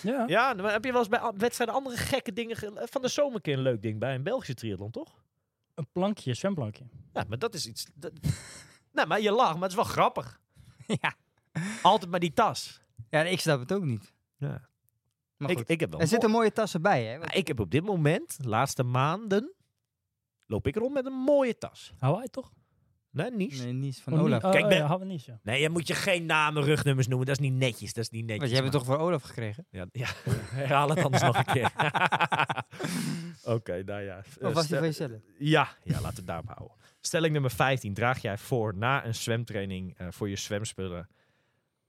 Ja. Ja, nou, maar heb je wel eens bij a- wedstrijden andere gekke dingen... ge- eh, Van de zomer een keer een leuk ding bij een Belgische triathlon, toch? Een plankje, zwemplankje. Ja, maar dat is iets... [laughs] Dat... nee, Nou, maar je lacht, maar het is wel [laughs] grappig. Ja. Altijd maar die tas. Ja, ik snap het ook niet. Ja. Maar Ik, goed. ik heb wel er zitten mooie tassen bij, hè? Nou, ik heb op dit moment, de laatste maanden, loop ik rond met een mooie tas. Hawaii toch? Nee, niet. Nee. Nee, niet van Of niet? Olaf. Oh, Kijk, oh, ben- ja, Hawaii niet, ja. je moet je geen namen, rugnummers noemen. Dat is niet netjes. Dat is niet netjes. Want jij hebt het toch voor Olaf gekregen? Ja, ja. [laughs] herhaal het anders nog een [laughs] keer. Oké, nou ja. Of Eh, was die stel- van jezelf? Ja, ja laten we het daarop houden. Stelling nummer 15. Draag jij voor na een zwemtraining eh, voor je zwemspullen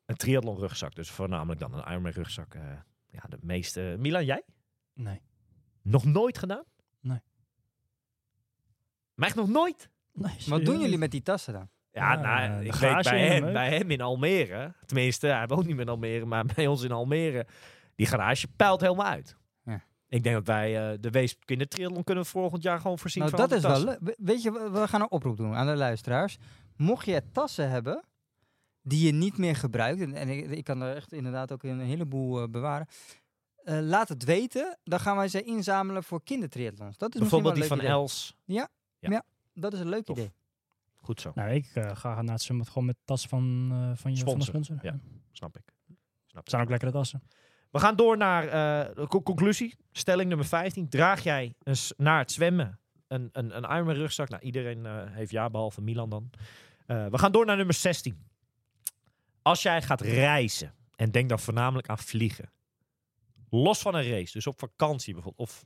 een triathlon rugzak. Dus voornamelijk dan een Ironman rugzak. eh, ja, de meeste. Milan, jij? Nee. Nog nooit gedaan? Nee. Maar echt nog nooit? nee Wat serieus doen jullie niet. met die tassen dan? Ja, Ja, nou, de ik weet garage bij in de hem, meuk. bij hem in Almere. Tenminste, hij woont niet meer in Almere, maar bij ons in Almere. Die garage pijlt helemaal uit. Ja. Ik denk dat wij eh, de Weeskinder Triathlon kunnen we volgend jaar gewoon voorzien Nou, van dat is de wel tassen. leuk. We- Weet je, we we gaan een oproep doen aan de luisteraars. Mocht je tassen hebben die je niet meer gebruikt, en, en ik, ik kan er echt inderdaad ook een heleboel eh, bewaren, eh, laat het weten. Dan gaan wij ze inzamelen voor kindertriathlons. Dat is misschien wel Bijvoorbeeld een die leuk van idee. Els. Dat is een leuk Tof. idee. Goed zo, Nou, ik eh, ga naar het zwembad gewoon met tas van, eh, van je Van de Sponsor, sponsor. ja. Ja. snap ik. Snap ik. Zijn ook lekkere tassen. We gaan door naar eh, de co- conclusie. Stelling nummer 15. Draag jij een s- naar het zwemmen een, een, een Ironman rugzak? Nou, iedereen eh, heeft ja, behalve Milan dan. Eh, we gaan door naar nummer 16. Als jij gaat reizen en denk dan voornamelijk aan vliegen. Los van een race, dus op vakantie bijvoorbeeld. Of,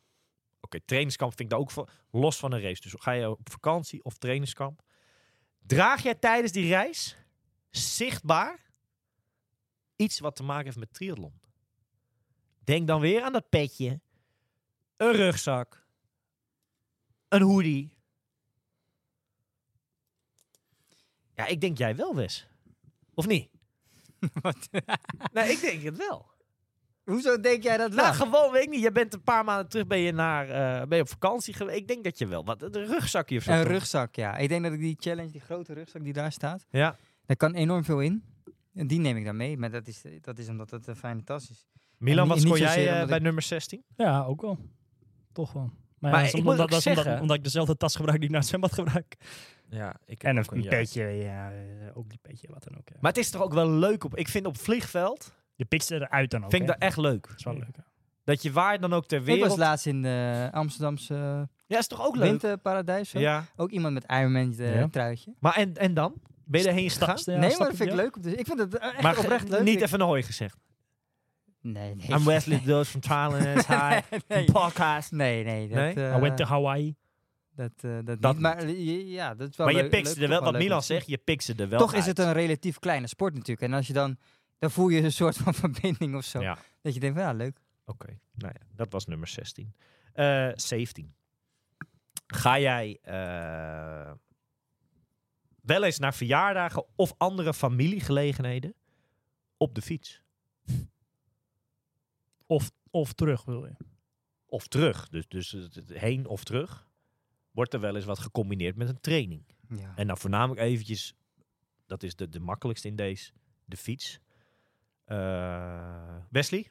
oké, trainingskamp vind ik daar ook voor. Los van een race, dus ga je op vakantie of trainingskamp. Draag jij tijdens die reis zichtbaar iets wat te maken heeft met triathlon? Denk dan weer aan dat petje. Een rugzak. Een hoodie. Ja, ik denk jij wel, Wes. Of niet? [laughs] Wat? Nee, ik denk het wel. Hoezo denk jij dat wel? Nou, gewoon, weet ik niet. Je bent een paar maanden terug ben je naar, eh, ben je op vakantie geweest. Ik denk dat je wel wat, een rugzakje of zo. een toch? rugzak, ja. Ik denk dat ik die challenge, die grote rugzak die daar staat, Ja. daar kan enorm veel in. En die neem ik dan mee, maar dat is, dat is omdat het een fijne tas is. Milan, En wat niet- scoor niet jij zozeer eh, omdat bij ik- nummer 16? Ja, ook wel. Toch wel. Maar, Maar ja, dat is ik moet omdat, ook dat is omdat- zeggen- omdat ik dezelfde tas gebruik die ik naar het zwembad gebruik. Ja, ik En een, petje, ja, eh, ook die petje, wat dan ook. ja. Maar het is toch ook wel leuk op... Ik vind op vliegveld, Je pikt ze eruit dan ook. vind ik hè. dat echt leuk. Dat is wel leuk. hè. Dat je waar dan ook ter Ik was wereld... laatst in de Amsterdamse Ja, is toch ook leuk? Winterparadijs. zo. Ja. Ook iemand met Iron Man eh, Ja. truitje. Maar en, en dan? Ben je erheen gegaan? nee, maar dat vind ik leuk. om te- Ik vind het eh, echt Maar oprecht ge- leuk. niet Ik- even een hooi gezegd. Nee, nee. I'm [laughs] Wesley Dulles from Thailand. Hi. nee. eh, Podcast. Nee, nee. Dat, Nee? I went to Hawaii. Dat, eh, dat, Dat niet, maar je- ja, dat is wel Maar je leuk- pikt leuk- ze er wel, toch wat leuk om Milan te zien. zegt, je pikt ze er wel Toch is het uit. een relatief kleine sport natuurlijk. En als je dan, dan voel je een soort van [laughs] verbinding of zo. Ja. Dat je denkt, van, ja, leuk. Oké, nou ja, dat was nummer 16. Eh 17. Ga jij eh, wel eens naar verjaardagen of andere familiegelegenheden op de fiets? Of, of terug, wil je. Of terug, dus, dus het- het heen of terug, wordt er wel eens wat gecombineerd met een training. Ja. En dan voornamelijk eventjes, dat is de, de makkelijkste in deze, de fiets. Eh, Wesley?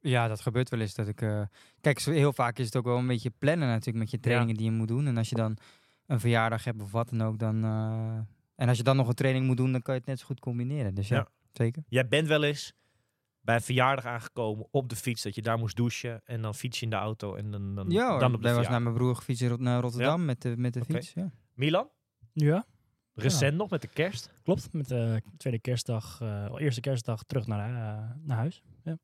Ja, dat gebeurt wel eens. Dat ik, eh, kijk, zo- heel vaak is het ook wel een beetje plannen natuurlijk met je trainingen die je moet doen. En als je dan een verjaardag hebt of wat dan ook, dan... eh, en als je dan nog een training moet doen, dan kan je het net zo goed combineren. Dus ja, Ja. zeker. Jij bent wel eens bij een verjaardag aangekomen op de fiets, dat je daar moest douchen en dan fiets je in de auto en dan, dan, Ja, dan op de hoor, daar was verjaardag. naar mijn broer gefietst in Rot- naar Rotterdam met de, met de Oké. fiets. Ja. Milan, Ja, recent nog met de kerst. klopt. Met de tweede kerstdag, eh, eerste kerstdag terug naar, eh, naar huis. Ja,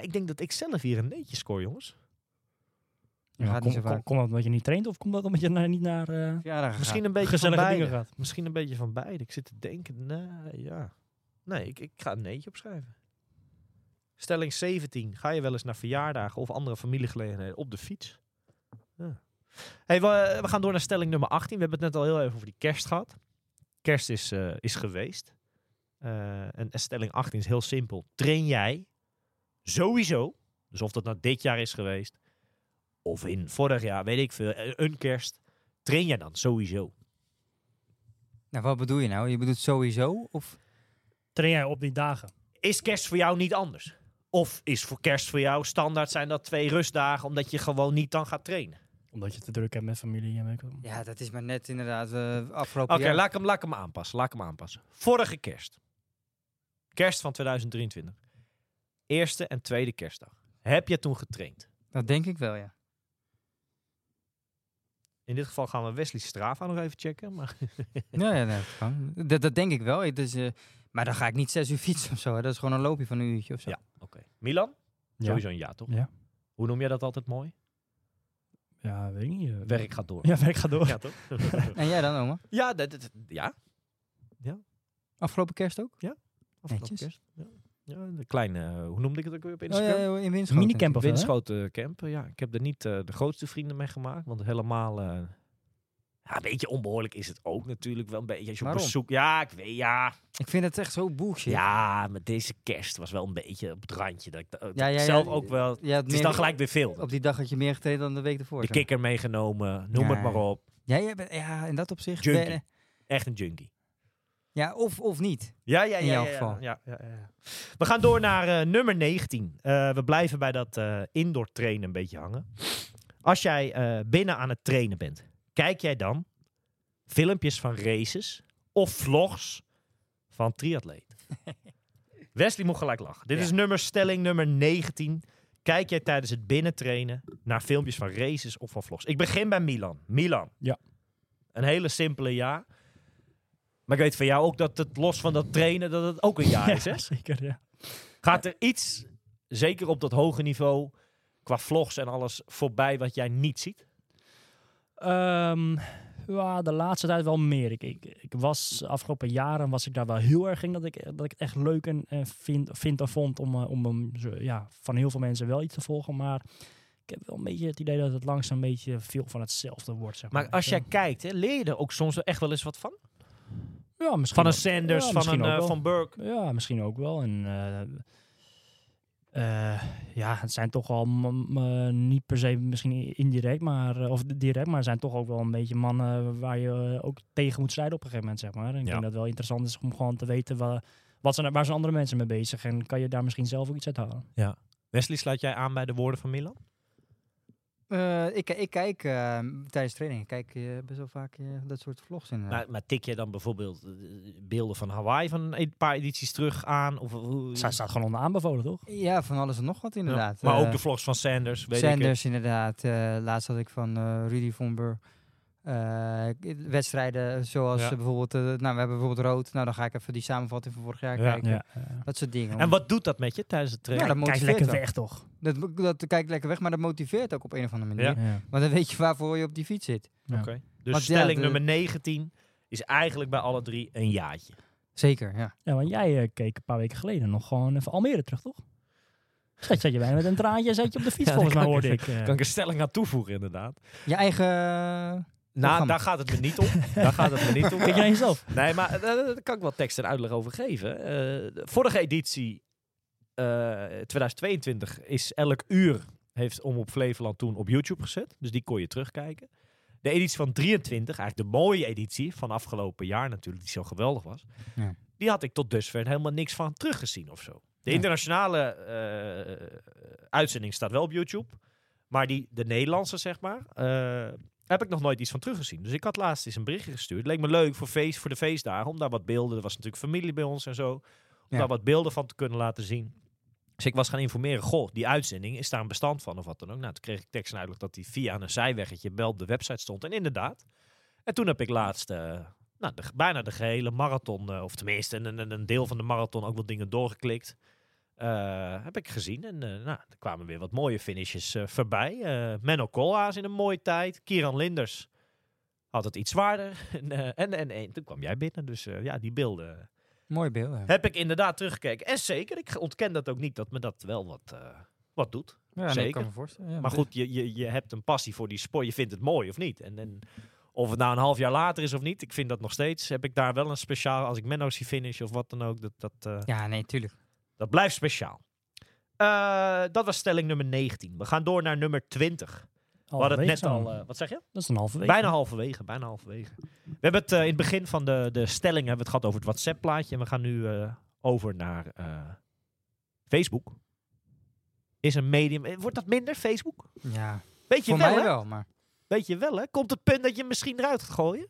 Ik denk dat ik zelf hier een neetje scoor, jongens. Ja, Ja, gaat niet kom, zo kom, vaak. komt dat omdat je niet traint of komt dat omdat je naar, niet naar eh, Verjaardag Misschien een beetje gezellige van dingen beide. gaat? Misschien een beetje van beide. Ik zit te denken, nou ja. Nee, ik, ik ga een neetje opschrijven. Stelling 17. Ga je wel eens naar verjaardagen of andere familiegelegenheden op de fiets? Ja. Hey, we, we gaan door naar stelling nummer 18. We hebben het net al heel even over die kerst gehad. Kerst is, eh, is geweest. Eh, en, en stelling 18 is heel simpel. Train jij sowieso, dus of dat nou dit jaar is geweest, of in vorig jaar, weet ik veel, eh, een kerst, train jij dan sowieso. Nou, wat bedoel je nou? Je bedoelt sowieso? Of... Train jij op die dagen? is kerst voor jou niet anders? Of is voor kerst voor jou standaard zijn dat twee rustdagen omdat je gewoon niet dan gaat trainen? Omdat je te druk hebt met familie en weet ik wat. Ja, dat is maar net inderdaad eh, afgelopen Oké, jaar. laat, ik hem, laat ik hem aanpassen. Laat ik hem aanpassen. Vorige kerst. Kerst van 2023. Eerste en tweede kerstdag. Heb je toen getraind? Dat denk ik wel, ja. In dit geval gaan we Wesley Strava nog even checken. Maar ja, ja nee, dat, kan. dat, dat denk ik wel. Het is, eh, maar dan ga ik niet zes uur [laughs] fietsen of zo. hè. Dat is gewoon een loopje van een uurtje of zo. Ja. oké. Milan? Ja. Sowieso een ja, toch? Ja. Hoe noem jij dat altijd mooi? Ja, weet ik niet. eh, Werk gaat door. [laughs] Ja, werk gaat door. [laughs] Ja, toch? En jij dan, oma? [laughs] ja, dat, dat- ja. Afgelopen kerst ook? Afgelopen Netjes. kerst. Ja. Ja, een kleine, eh, hoe noemde ik het ook weer op Oh, Instagram? ja, ja, in Winschoten. Minicamp of wel, hè? Winschoten campen, eh, ja. Ik heb er niet eh, de grootste vrienden mee gemaakt, want helemaal... eh, ja, een beetje onbehoorlijk is het ook natuurlijk wel. Een beetje als je op Waarom? bezoek... Ja, ik weet, ja. Ik vind het echt zo bullshit. Ja, maar deze kerst was wel een beetje op het randje. Dat ik dat- dat Ja, ik ja, ja. zelf ook wel... Je had Het is meer- dan gelijk weer veel. Op die dag had je meer getraind dan de week ervoor. De zeg maar. kikker meegenomen, noem Ja, het maar ja. op. Ja, jij bent, ja, in dat opzicht. Junkie. ben je- Echt een junkie. ja, of, of niet. Ja, ja, In ja, jouw ja, ja, geval. Ja, ja, ja, ja. We gaan door naar eh, nummer 19. Eh, we blijven bij dat eh, indoor trainen een beetje hangen. Als jij eh, binnen aan het trainen bent, kijk jij dan filmpjes van races of vlogs van [laughs] triatleten? Wesley moet gelijk lachen. Dit Ja. is nummer, stelling nummer 19. Kijk jij tijdens het binnentrainen naar filmpjes van races of van vlogs? Ik begin bij Milan. Milan. Ja. Een hele simpele ja. Maar ik weet van jou ook dat het los van dat trainen, dat het ook een ja is. Hè? zeker, [laughs] ja. Gaat er iets, zeker op dat hoge niveau, qua vlogs en alles voorbij wat jij niet ziet? Ehm, ja, de laatste tijd wel meer. Ik, ik, ik was afgelopen jaren was ik daar wel heel erg in dat ik, dat ik het echt leuk en, eh, vind, vind en vond om, eh, om hem zo- ja, van heel veel mensen wel iets te volgen. Maar ik heb wel een beetje het idee dat het langzaam een beetje veel van hetzelfde wordt. Zeg maar Maar als jij kijkt, hè, leer je er ook soms echt wel eens wat van? ja, misschien Van een wel. Sanders, Ja, van misschien een ook eh, wel. Van Burke. Ja, misschien ook wel. En eh, eh, ja, het zijn toch wel m- m- niet per se misschien indirect, maar eh, of direct, maar het zijn toch ook wel een beetje mannen waar je eh, ook tegen moet strijden op een gegeven moment, zeg maar. En ik Ja. denk dat het wel interessant is om gewoon te weten wat, wat zijn, waar zijn andere mensen mee bezig en kan je daar misschien zelf ook iets uit halen. Wesley, sluit jij aan bij de woorden van Milan? Eh, ik, ik kijk eh, tijdens trainingen kijk je best wel vaak eh, dat soort vlogs in. Maar, maar tik je dan bijvoorbeeld eh, beelden van Hawaii van een paar edities terug aan? Of, eh, hoe- Zij staat gewoon onder aanbevolen, toch? Ja, van alles en nog wat Nou- Ja, inderdaad. Maar Eh, ook de vlogs van Sanders. Weet ik het. Sanders inderdaad. Eh, laatst had ik van eh, Rudy Vomber. eh, wedstrijden zoals Ja. eh, bijvoorbeeld, eh, nou we hebben bijvoorbeeld rood, nou dan ga ik even die samenvatting van vorig jaar Ja. kijken. Dat soort dingen. En wat doet dat met je tijdens het Ja, trainen? dat eh. Kijk motiveert lekker wel. weg, toch? Dat, mo- dat kijkt lekker weg, maar dat motiveert ook op een of andere manier. Ja. Ja. Want dan weet je waarvoor je op die fiets zit. Ja. Oké. Dus Want ja, stelling de- nummer 19 is eigenlijk bij alle drie een jaartje. Zeker, ja. Ja, want jij eh, keek een paar weken geleden nog gewoon even Almere terug, toch? [laughs] Zat zat je bijna met een traantje, zat je op de fiets, Ja, volgens dat mij kan hoorde ik ik. eh. Kan ik een stelling aan toevoegen, inderdaad? Je eigen... Nou, Programma. daar gaat het me niet om. daar gaat het me [laughs] niet om. Kijk jij jezelf? [laughs] Nee, maar eh, daar kan ik wel tekst en uitleg over geven. Eh, de vorige editie, eh, 2022, is elk uur heeft Omroep Flevoland toen op YouTube gezet. Dus die kon je terugkijken. De editie van 23, eigenlijk de mooie editie van afgelopen jaar natuurlijk, die zo geweldig was. Ja. Die had ik tot dusver helemaal niks van teruggezien of zo. De Ja. internationale eh, uitzending staat wel op YouTube. Maar die, de Nederlandse, zeg maar, eh, heb ik nog nooit iets van teruggezien. Dus ik had laatst eens een berichtje gestuurd. Leek me leuk voor, feest, voor de feestdagen. Om daar wat beelden. Er was natuurlijk familie bij ons en zo. Om Ja. daar wat beelden van te kunnen laten zien. Dus ik was gaan informeren. Goh, die uitzending, is daar een bestand van of wat dan ook? Nou, toen kreeg ik tekst en uitleg dat die via een zijweggetje wel op de website stond. En inderdaad. En toen heb ik laatst eh, nou, de- bijna de gehele marathon, eh, of tenminste een, een, een deel van de marathon, ook wat dingen doorgeklikt. Eh, heb ik gezien. En eh, nou, er kwamen weer wat mooie finishes eh, voorbij. Eh Menno Koolhaas in een mooie tijd. Kieran Linders had het iets zwaarder. [laughs] en, eh, en, en, en toen kwam jij binnen. Dus eh, ja, die beelden Mooi beeld. Ja, heb ik inderdaad teruggekeken. En zeker, ik ontken dat ook niet, dat me dat wel wat, eh, wat doet. nee, ik zeker. kan me voorstellen. ja. Maar goed, je, je, je hebt een passie voor die sport. Je vindt het mooi of niet. En, en of het nou een half jaar later is of niet, ik vind dat nog steeds. Heb ik daar wel een speciaal, als ik Menno zie finish of wat dan ook, dat, dat, eh, Ja, nee, tuurlijk. dat blijft speciaal. Eh, dat was stelling nummer 19. We gaan door naar nummer 20. We hadden het Halverwege net zijn al, we. eh, wat zeg je? dat is een halve week. Bijna halverwege, bijna halverwege. We hebben het eh, in het begin van de, de stelling hebben we het gehad over het WhatsApp-plaatje. En we gaan nu eh, over naar eh, Facebook. Is een medium. eh, Wordt dat minder, Facebook? Ja, Weet je voor wel, mij hè? wel, maar... Weet je wel, hè? Komt het punt dat je hem misschien eruit gaat gooien?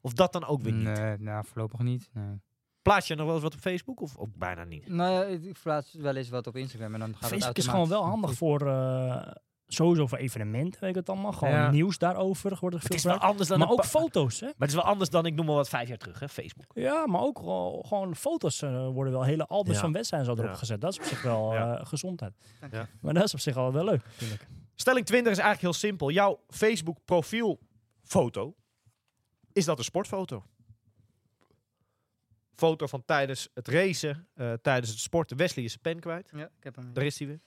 Of dat dan ook weer niet? Nee, nou, voorlopig niet. Nee. Plaats je nog wel eens wat op Facebook? Of ook bijna niet? Nou ja, ik ik plaats wel eens wat op Instagram en dan gaat Facebook het is gewoon wel automatisch. handig voor eh, sowieso voor evenementen, weet ik het allemaal. Gewoon Ja. nieuws daarover wordt er Het veel is wel gebruikt. anders dan Maar een ook pa- foto's, hè? Maar het is wel anders dan, ik noem maar wat, vijf jaar terug, hè? Facebook. Ja, maar ook wel gewoon foto's eh, worden wel. Hele albums Ja. van wedstrijden zo erop Ja. gezet. Dat is op zich wel Ja. eh, gezondheid. Dank je. Ja. Maar dat is op zich al wel leuk. natuurlijk. Stelling 20 is eigenlijk heel simpel. Jouw Facebook profielfoto, is dat een sportfoto? Foto van tijdens het racen, eh, tijdens het sporten. Wesley is zijn pen kwijt. Ja, ik heb hem. Daar is hij weer.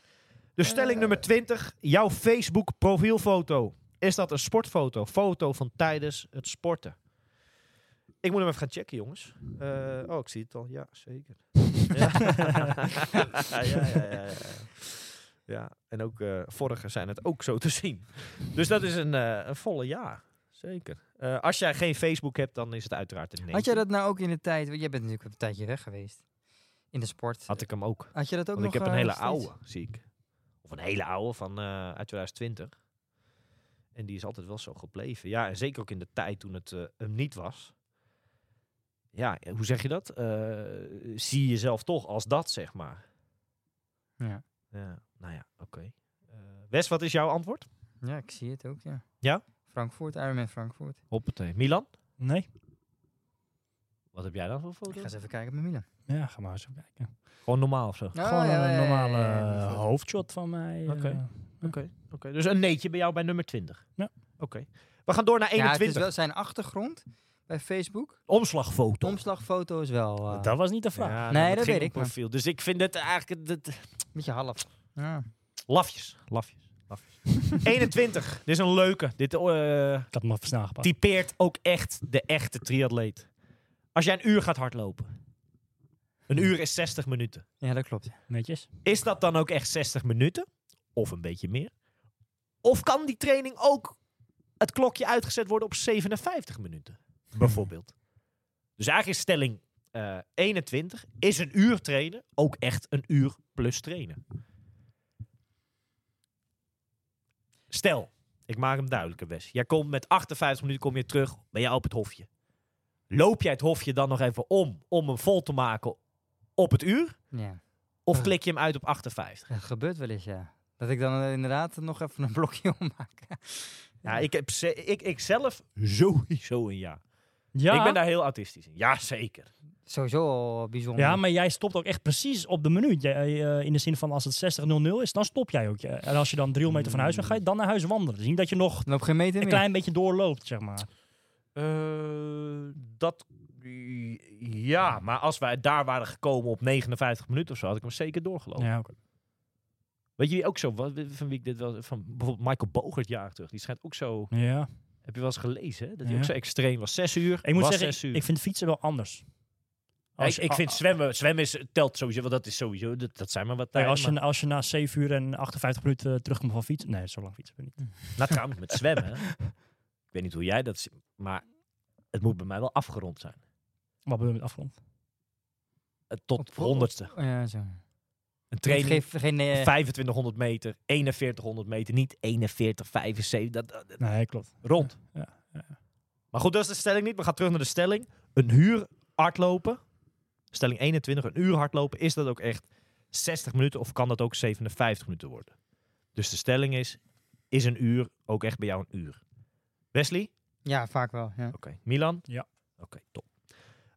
Dus stelling Eh. nummer 20, jouw Facebook profielfoto. Is dat een sportfoto? Foto van tijdens het sporten. Ik moet hem even gaan checken, jongens. Eh, oh, ik zie het al. Ja, [laughs] zeker. ja. ja, ja, ja, ja. Ja, en ook eh vorige zijn het ook zo te zien. Dus dat is een, eh, een volle ja. Zeker. Eh, als jij geen Facebook hebt, dan is het uiteraard een nee. Had jij dat nou ook in de tijd, want jij bent natuurlijk een tijdje weg geweest in de sport. Had ik hem ook. Had je dat ook Want nog ik heb een eh, hele steeds? oude, zie ik. Of een hele oude van eh, uit 2020. En die is altijd wel zo gebleven. Ja, en zeker ook in de tijd toen het eh, hem niet was. Ja, eh, hoe zeg je dat? Eh, zie jezelf toch als dat, zeg maar. Ja. Ja, nou ja, oké. Eh, Wes, wat is jouw antwoord? Ja, ik zie het ook, ja. Ja? Frankfurt, Ironman Frankfurt. Hoppatee. Milan? Nee? Wat heb jij dan voor Ik ga foto? eens even kijken met Milan. Oh, Ja, ga maar eens even kijken. Gewoon normaal of zo. Oké, gewoon een normale eh, hoofdshot van mij. eh. Oké. dus een neetje bij jou bij nummer 20. Ja. Oké. We gaan door naar Ja, het is 21. wel zijn achtergrond bij Facebook. De Omslagfoto. omslagfoto is wel eh, Dat was niet de vraag. Ja, Nee, het dat ging weet ik, om Profiel. Dus ik vind het eigenlijk... het- het- een beetje half. Ja. lafjes. Lafjes. [laughs] lafjes. 21. Dit is een leuke. Dit eh, Ik had hem al snel gepakt. typeert ook echt de echte triatleet. Als jij een uur gaat hardlopen. Een uur is 60 minuten. ja, dat klopt. Netjes. Is dat dan ook echt 60 minuten? Of een beetje meer? Of kan die training ook het klokje uitgezet worden op 57 minuten? Bijvoorbeeld. Dus eigenlijk is stelling eh, 21. Is een uur trainen ook echt een uur plus trainen? Stel, Ik maak hem duidelijker, Wes. Jij komt met 58 minuten kom je terug, ben jij op het hofje. Loop jij het hofje dan nog even om, om hem vol te maken op het uur? Ja. Of Ja. klik je hem uit op 58? Dat gebeurt wel eens, ja. Dat ik dan eh, inderdaad nog even een blokje [laughs] ommaak. Ja, ik heb ze- ik, ik zelf sowieso een ja. Ja, Ik ben daar heel autistisch in. Ja, zeker. Sowieso al bijzonder. ja, maar jij stopt ook echt precies op de minuut. Jij, eh, in de zin van als het 60-0-0 is, dan stop jij ook. Ja. En als je dan drie kilometer van huis Hmm. bent, ga je dan naar huis wandelen. Dus niet dat je nog Dan op geen meter een meer. klein beetje doorloopt, zeg maar. Eh, dat... Ja, maar als wij daar waren gekomen op 59 minuten of zo, had ik hem zeker doorgelopen. Ja, oké. Weet je ook zo, wat, van wie ik dit wel, van bijvoorbeeld Michael Bogert jaren terug, die schijnt ook zo, ja. heb je wel eens gelezen, hè? dat hij Ja. ook zo extreem was. Zes uur, Ik moet was zes zeggen, uur. ik, ik vind fietsen wel anders. Ja, Als ik, je- ik a- vind a- zwemmen, zwemmen is, telt sowieso, want dat is sowieso, dat, dat zijn maar wat Nee, tijden. als, maar- je, als je na 7 uur en 58 minuten terugkomt van fietsen... Nee, zo lang fietsen we niet. Nou, trouwens, met zwemmen. [laughs] ik weet niet hoe jij dat ziet, maar het moet bij mij wel afgerond zijn. Wat bedoel je met afgerond? Eh, Op- Tot op- honderdste. Ja, zo. Een training, Geef geen... eh, 2500 meter, 4100 meter, niet 41, 75, dat, dat- dat- Nee, klopt. rond. Ja, Maar goed, dat is de stelling niet. We gaan terug naar de stelling. Een uur hardlopen, stelling 21, een uur hardlopen, is dat ook echt 60 minuten of kan dat ook 57 minuten worden? Dus de stelling is, is een uur ook echt bij jou een uur? Wesley? ja, vaak wel. Ja. Oké. Milan? Ja. Oké, top.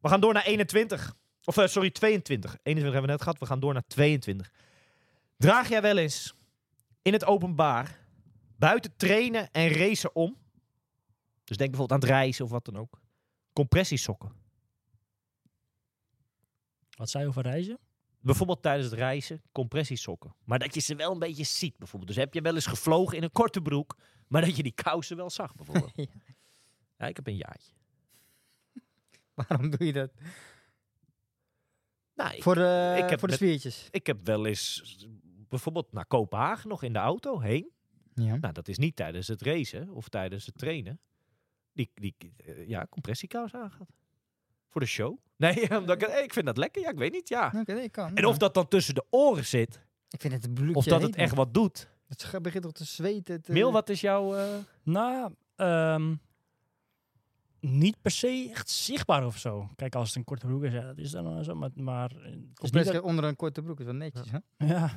We gaan door naar 21. Of eh, sorry, 22. 21 hebben we net gehad. We gaan door naar 22. Draag jij wel eens in het openbaar buiten trainen en racen om? Dus denk bijvoorbeeld aan het reizen of wat dan ook. Compressiesokken. Wat zei je over reizen? Bijvoorbeeld tijdens het reizen, compressiesokken. Maar dat je ze wel een beetje ziet bijvoorbeeld. Dus heb je wel eens gevlogen in een korte broek, maar dat je die kousen wel zag bijvoorbeeld. [laughs] Ja. ja, ik heb een jaartje. [laughs] Waarom doe je dat? Nou, ik- voor de, ik heb voor de met- spiertjes. Ik heb wel eens bijvoorbeeld naar Kopenhagen nog in de auto heen. Hm. Ja. Nou, dat is niet tijdens het racen of tijdens het trainen. Die, die eh, ja, compressiekous aangehad. Voor de show. [laughs] Nee, omdat ik, hey, ik vind dat lekker. Ja, ik weet niet, ja. Oké, nee, kan. En of Ja. dat dan tussen de oren zit, Ik vind het een bloedje of dat heet, het echt man. wat doet. Het scha- begint toch te zweten. Te... Mil, wat is jouw... eh, Nou, ehm, niet per se echt zichtbaar of zo. Kijk, als het een korte broek is, ja, dat is dan wel zo. Maar, maar eh, het is Of niet best dat- onder een korte broek is wel netjes. Hè? [laughs] Ja. nou,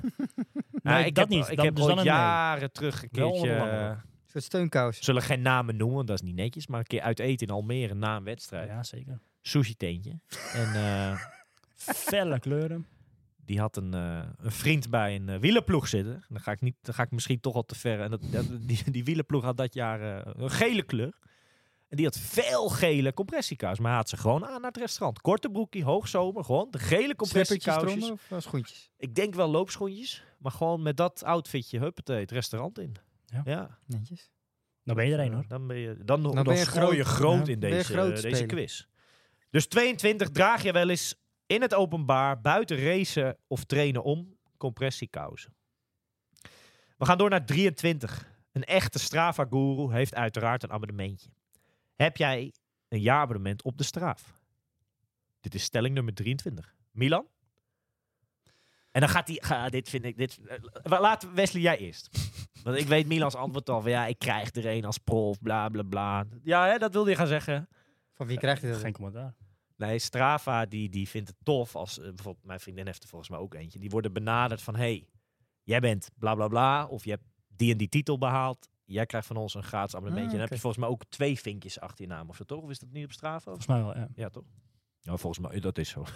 nee, ik dat heb, niet. Ik Dan- heb dus ooit dan een nee. jaren terug een Wel onder keertje... de lange eh, broek. Een soort steunkous. zullen geen namen noemen, want dat is niet netjes. Maar een keer uit eten in Almere na een wedstrijd. ja, zeker. Sushi teentje. en... eh, Felle kleuren. die had een, eh, een vriend bij een eh, wielerploeg zitten. Dan ga, ik niet, dan ga ik misschien toch al te ver. En dat, dat- [laughs] die, die wielerploeg had dat jaar eh, een gele kleur. En die had veel gele compressiekous. Maar hij had ze gewoon aan naar het restaurant. Korte broekie, hoogzomer, gewoon de gele Slippertjes eronder compressiekous. of eh, schoentjes? Ik denk wel loopschoentjes. Maar gewoon met dat outfitje, huppatee, het restaurant in. Ja. Netjes. Dan ben je er een hoor. Dan ben je, dan, dan, ben je gooi je groot. groot Ja, in ben je deze, groot eh, deze speler. quiz. Dus 22 draag je wel eens in het openbaar, buiten racen of trainen om, compressiekousen. We gaan door naar 23. Een echte Strava-guru heeft uiteraard een abonnementje. Heb jij een jaarabonnement op de Strava? Dit is stelling nummer 23. Milan? En dan gaat hij... Ga, dit vind ik... Dit, eh, laat Wesley jij eerst. Want ik weet Milans antwoord al van ja, ik krijg er een als prof, bla bla bla. Ja, hè, dat wilde je gaan zeggen. Van wie krijgt hij dat? Geen commentaar. Nee, Strava die, die vindt het tof als eh, bijvoorbeeld mijn vriendin heeft er volgens mij ook eentje. Die worden benaderd van hey, jij bent bla bla bla of je hebt die en die titel behaald. Jij krijgt van ons een gratis abonnementje. En dan heb je oké. volgens mij ook twee vinkjes achter je naam of zo toch? Of is dat niet op Strava? Of- Volgens mij wel, ja. Ja, toch? Nou, volgens mij, dat is zo. [laughs]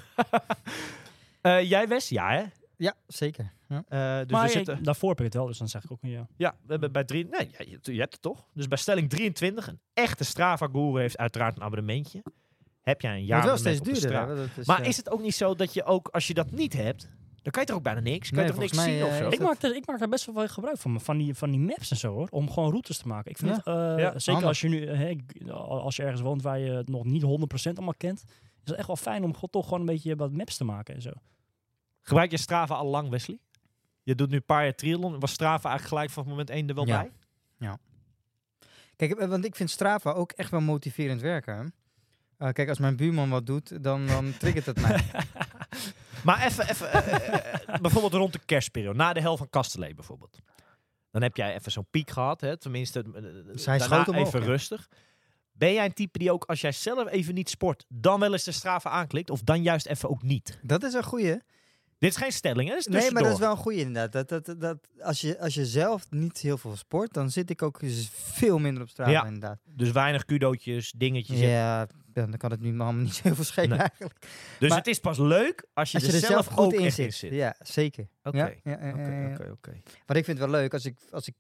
Eh, jij Wes? Ja, hè? Ja, zeker. Ja. Eh, dus maar we ik- zitten... daarvoor heb ik het wel, dus dan zeg ik ook een ja. Ja, we hebben bij drie. Nee, ja, je, je hebt het toch? Dus bij stelling 23, een echte Strava-guru heeft uiteraard een abonnementje. Heb jij een Ja, jaar het wordt wel steeds op de duurder. Strava? hè, dat is, Maar eh, is het ook niet zo dat je ook, als je dat niet hebt, dan kan je toch ook bijna niks? Kan je Nee, toch niks volgens zien mij, of eh, zo? is Ik dat- maak, er, ik maak daar best wel veel gebruik van, van die, van die maps en zo hoor, om gewoon routes te maken. Ik vind Ja. het, eh, Ja, zeker handig. als je nu, hè, ik- als je ergens woont waar je het nog niet 100% allemaal kent, is het echt wel fijn om gewoon toch gewoon een beetje wat maps te maken en zo. Gebruik je Strava al lang, Wesley? Je doet nu een paar jaar triathlon. Was Strava eigenlijk gelijk vanaf moment 1 er wel Ja. bij? Kijk, eh, want ik vind Strava ook echt wel motiverend werken. hè. Eh, kijk, als mijn buurman wat doet, [laughs] dan, dan triggert het mij. eh, Maar even, even eh, eh, bijvoorbeeld rond de kerstperiode, na de hel van Kastelee bijvoorbeeld. Dan heb jij even zo'n piek gehad, hè? tenminste eh, Zij daarna schoot hem op, even ja. rustig. Ben jij een type die ook als jij zelf even niet sport, dan wel eens de straven aanklikt? Of dan juist even ook niet? Dat is een goeie. Dit is geen stelling, hè? Dit is Nee, maar dat is tussendoor. wel een goeie inderdaad. Dat, dat, dat, als, je, als je zelf niet heel veel sport, dan zit ik ook z- veel minder op straat Ja. inderdaad. Dus weinig kudootjes, dingetjes. Ja, dan kan het nu me allemaal niet [laughs] zo heel veel schelen Nee. eigenlijk. Dus maar- het is pas leuk als je, Als je er zelf goed ook in echt zit. Ja, zeker. Oké, Ja, oké, ja, ja, ja, ja. oké, oké, oké. Maar ik vind het wel leuk als ik, als ik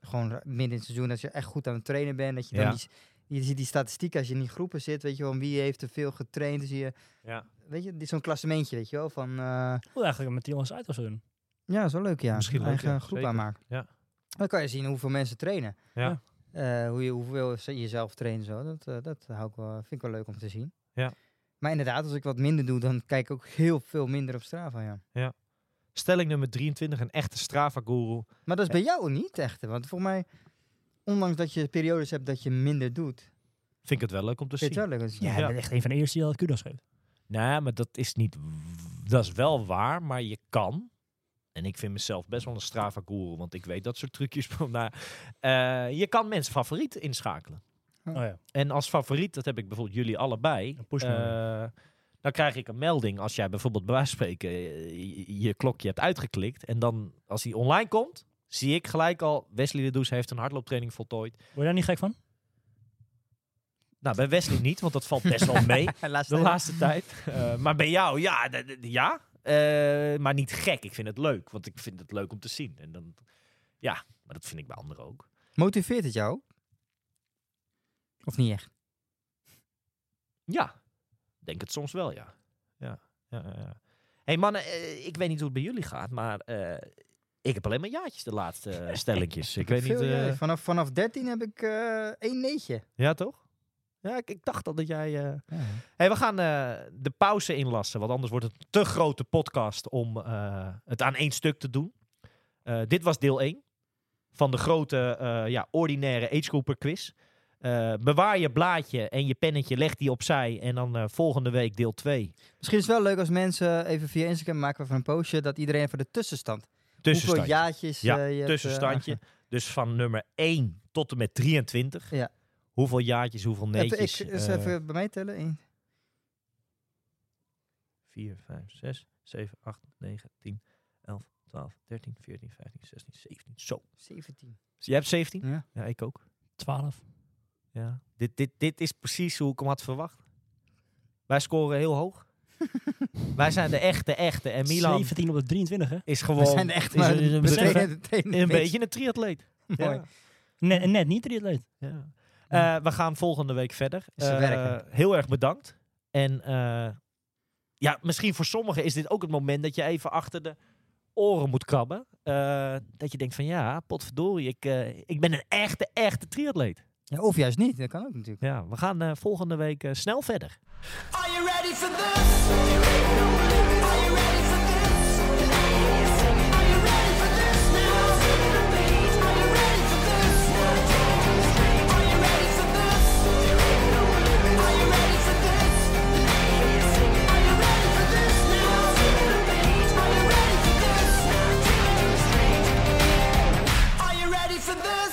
gewoon ra- midden in het seizoen, als je echt goed aan het trainen bent, dat je dan Ja. die, s- je ziet die statistieken als je in die groepen zit, weet je wel, wie heeft te veel getraind, dan zie je, Ja. weet je, die- zo'n klassementje, weet je wel, van, eh, Hoe eigenlijk met die jongens uit was doen. ja, dat is wel leuk, ja. Misschien Een leuk, eigen ja, groep zeker. aanmaken. Ja. Dan kan je zien hoeveel mensen trainen. Ja. Eh, hoe je, hoeveel ze- jezelf trainen, zo, dat, eh, dat hou ik wel, vind ik wel leuk om te zien. Ja. Maar inderdaad, als ik wat minder doe, dan kijk ik ook heel veel minder op Strava, ja. Stelling nummer 23, een echte Strava-guru. Maar dat is bij jou niet echt, hè, want voor mij, ondanks dat je periodes hebt dat je minder doet, Vind ik het wel leuk om te Vind zien. je het wel leuk om te zien? Ja, Ja. ik [laughs] ben echt een van de eerste die al kudos geeft. Nou, maar dat is niet... w- Dat is wel waar, maar je kan. En ik vind mezelf best wel een Strava-guru, want ik weet dat soort trucjes. [laughs] Maar, eh, je kan mensen favoriet inschakelen. Oh ja. En als favoriet, dat heb ik bijvoorbeeld jullie allebei. Een pushmelding. eh, dan krijg ik een melding als jij bijvoorbeeld bij wijze van spreken eh, je- je klokje hebt uitgeklikt. En dan, als die online komt, zie ik gelijk al... Wesley de Does heeft een hardlooptraining voltooid. Word je daar niet gek van? Nou, bij Wesley niet, want dat valt best [laughs] wel mee. Ja, laatste De even. laatste [laughs] tijd. Eh, maar bij jou, ja. d- d- ja. Eh, maar niet gek. Ik vind het leuk. Want ik vind het leuk om te zien. En dan, ja, maar dat vind ik bij anderen ook. Motiveert het jou? Of niet echt? Ja, ik denk het soms wel, ja. ja, ja, ja, ja. hey mannen, eh, ik weet niet hoe het bij jullie gaat, maar eh, ik heb alleen maar jaartjes de laatste [laughs] eh, stelletjes. ik weet niet. Veel, ja. eh, vanaf, vanaf 13 heb ik eh één neetje. ja, toch? Ja, ik, ik dacht al dat jij. eh, Hey, we gaan eh, de pauze inlassen, want anders wordt het een te grote podcast om eh, het aan één stuk te doen. Eh, dit was deel 1 van de grote, eh, ja, ordinaire age quiz. Eh, bewaar je blaadje en je pennetje, leg die opzij en dan eh, volgende week deel 2. Misschien is het wel leuk als mensen even via Instagram maken van een postje dat iedereen even de tussenstand. Hoeveel Tussenstandje. jaartjes Ja, eh, je hebt, eh, tussenstandje. aange- Dus van nummer 1 tot en met 23. Ja. Hoeveel jaartjes, hoeveel [laughs] Even- neetjes? eh, ik, eens even bij mij tellen. Eén. 4, 5, 6, 7, 8, 9, 10, 11, 12, 13, 14, 15, 16, 17. Zo. 17. Jij hebt 17? Ja. Ja, ik ook. 12. Ja. Dit, dit, dit is precies hoe ik hem had verwacht. Wij scoren heel hoog. Wij zijn de echte, echte. En Milan 17 op de 23, hè? is We gewoon zijn er echt is maar een, is een, we is een- trainen- trainen een niks. beetje een triatleet. Mooi. Ja. Net, net niet, triatleet. Ja. Eh, we gaan volgende week verder. Is te Eh, werken. heel erg bedankt. En eh, ja, misschien voor sommigen is dit ook het moment dat je even achter de oren moet krabben. Eh, dat je denkt van ja, potverdorie, ik, eh, ik ben een echte, echte triatleet. Ja, of juist niet, dat kan ook natuurlijk. Ja, we gaan eh, volgende week eh, snel verder. Are you ready for this? Are you ready for this? Are you ready for this now? Are you ready for this? Are you ready for this? Are you ready for this? Are you ready for this now? Are you ready for this? Are you ready for this?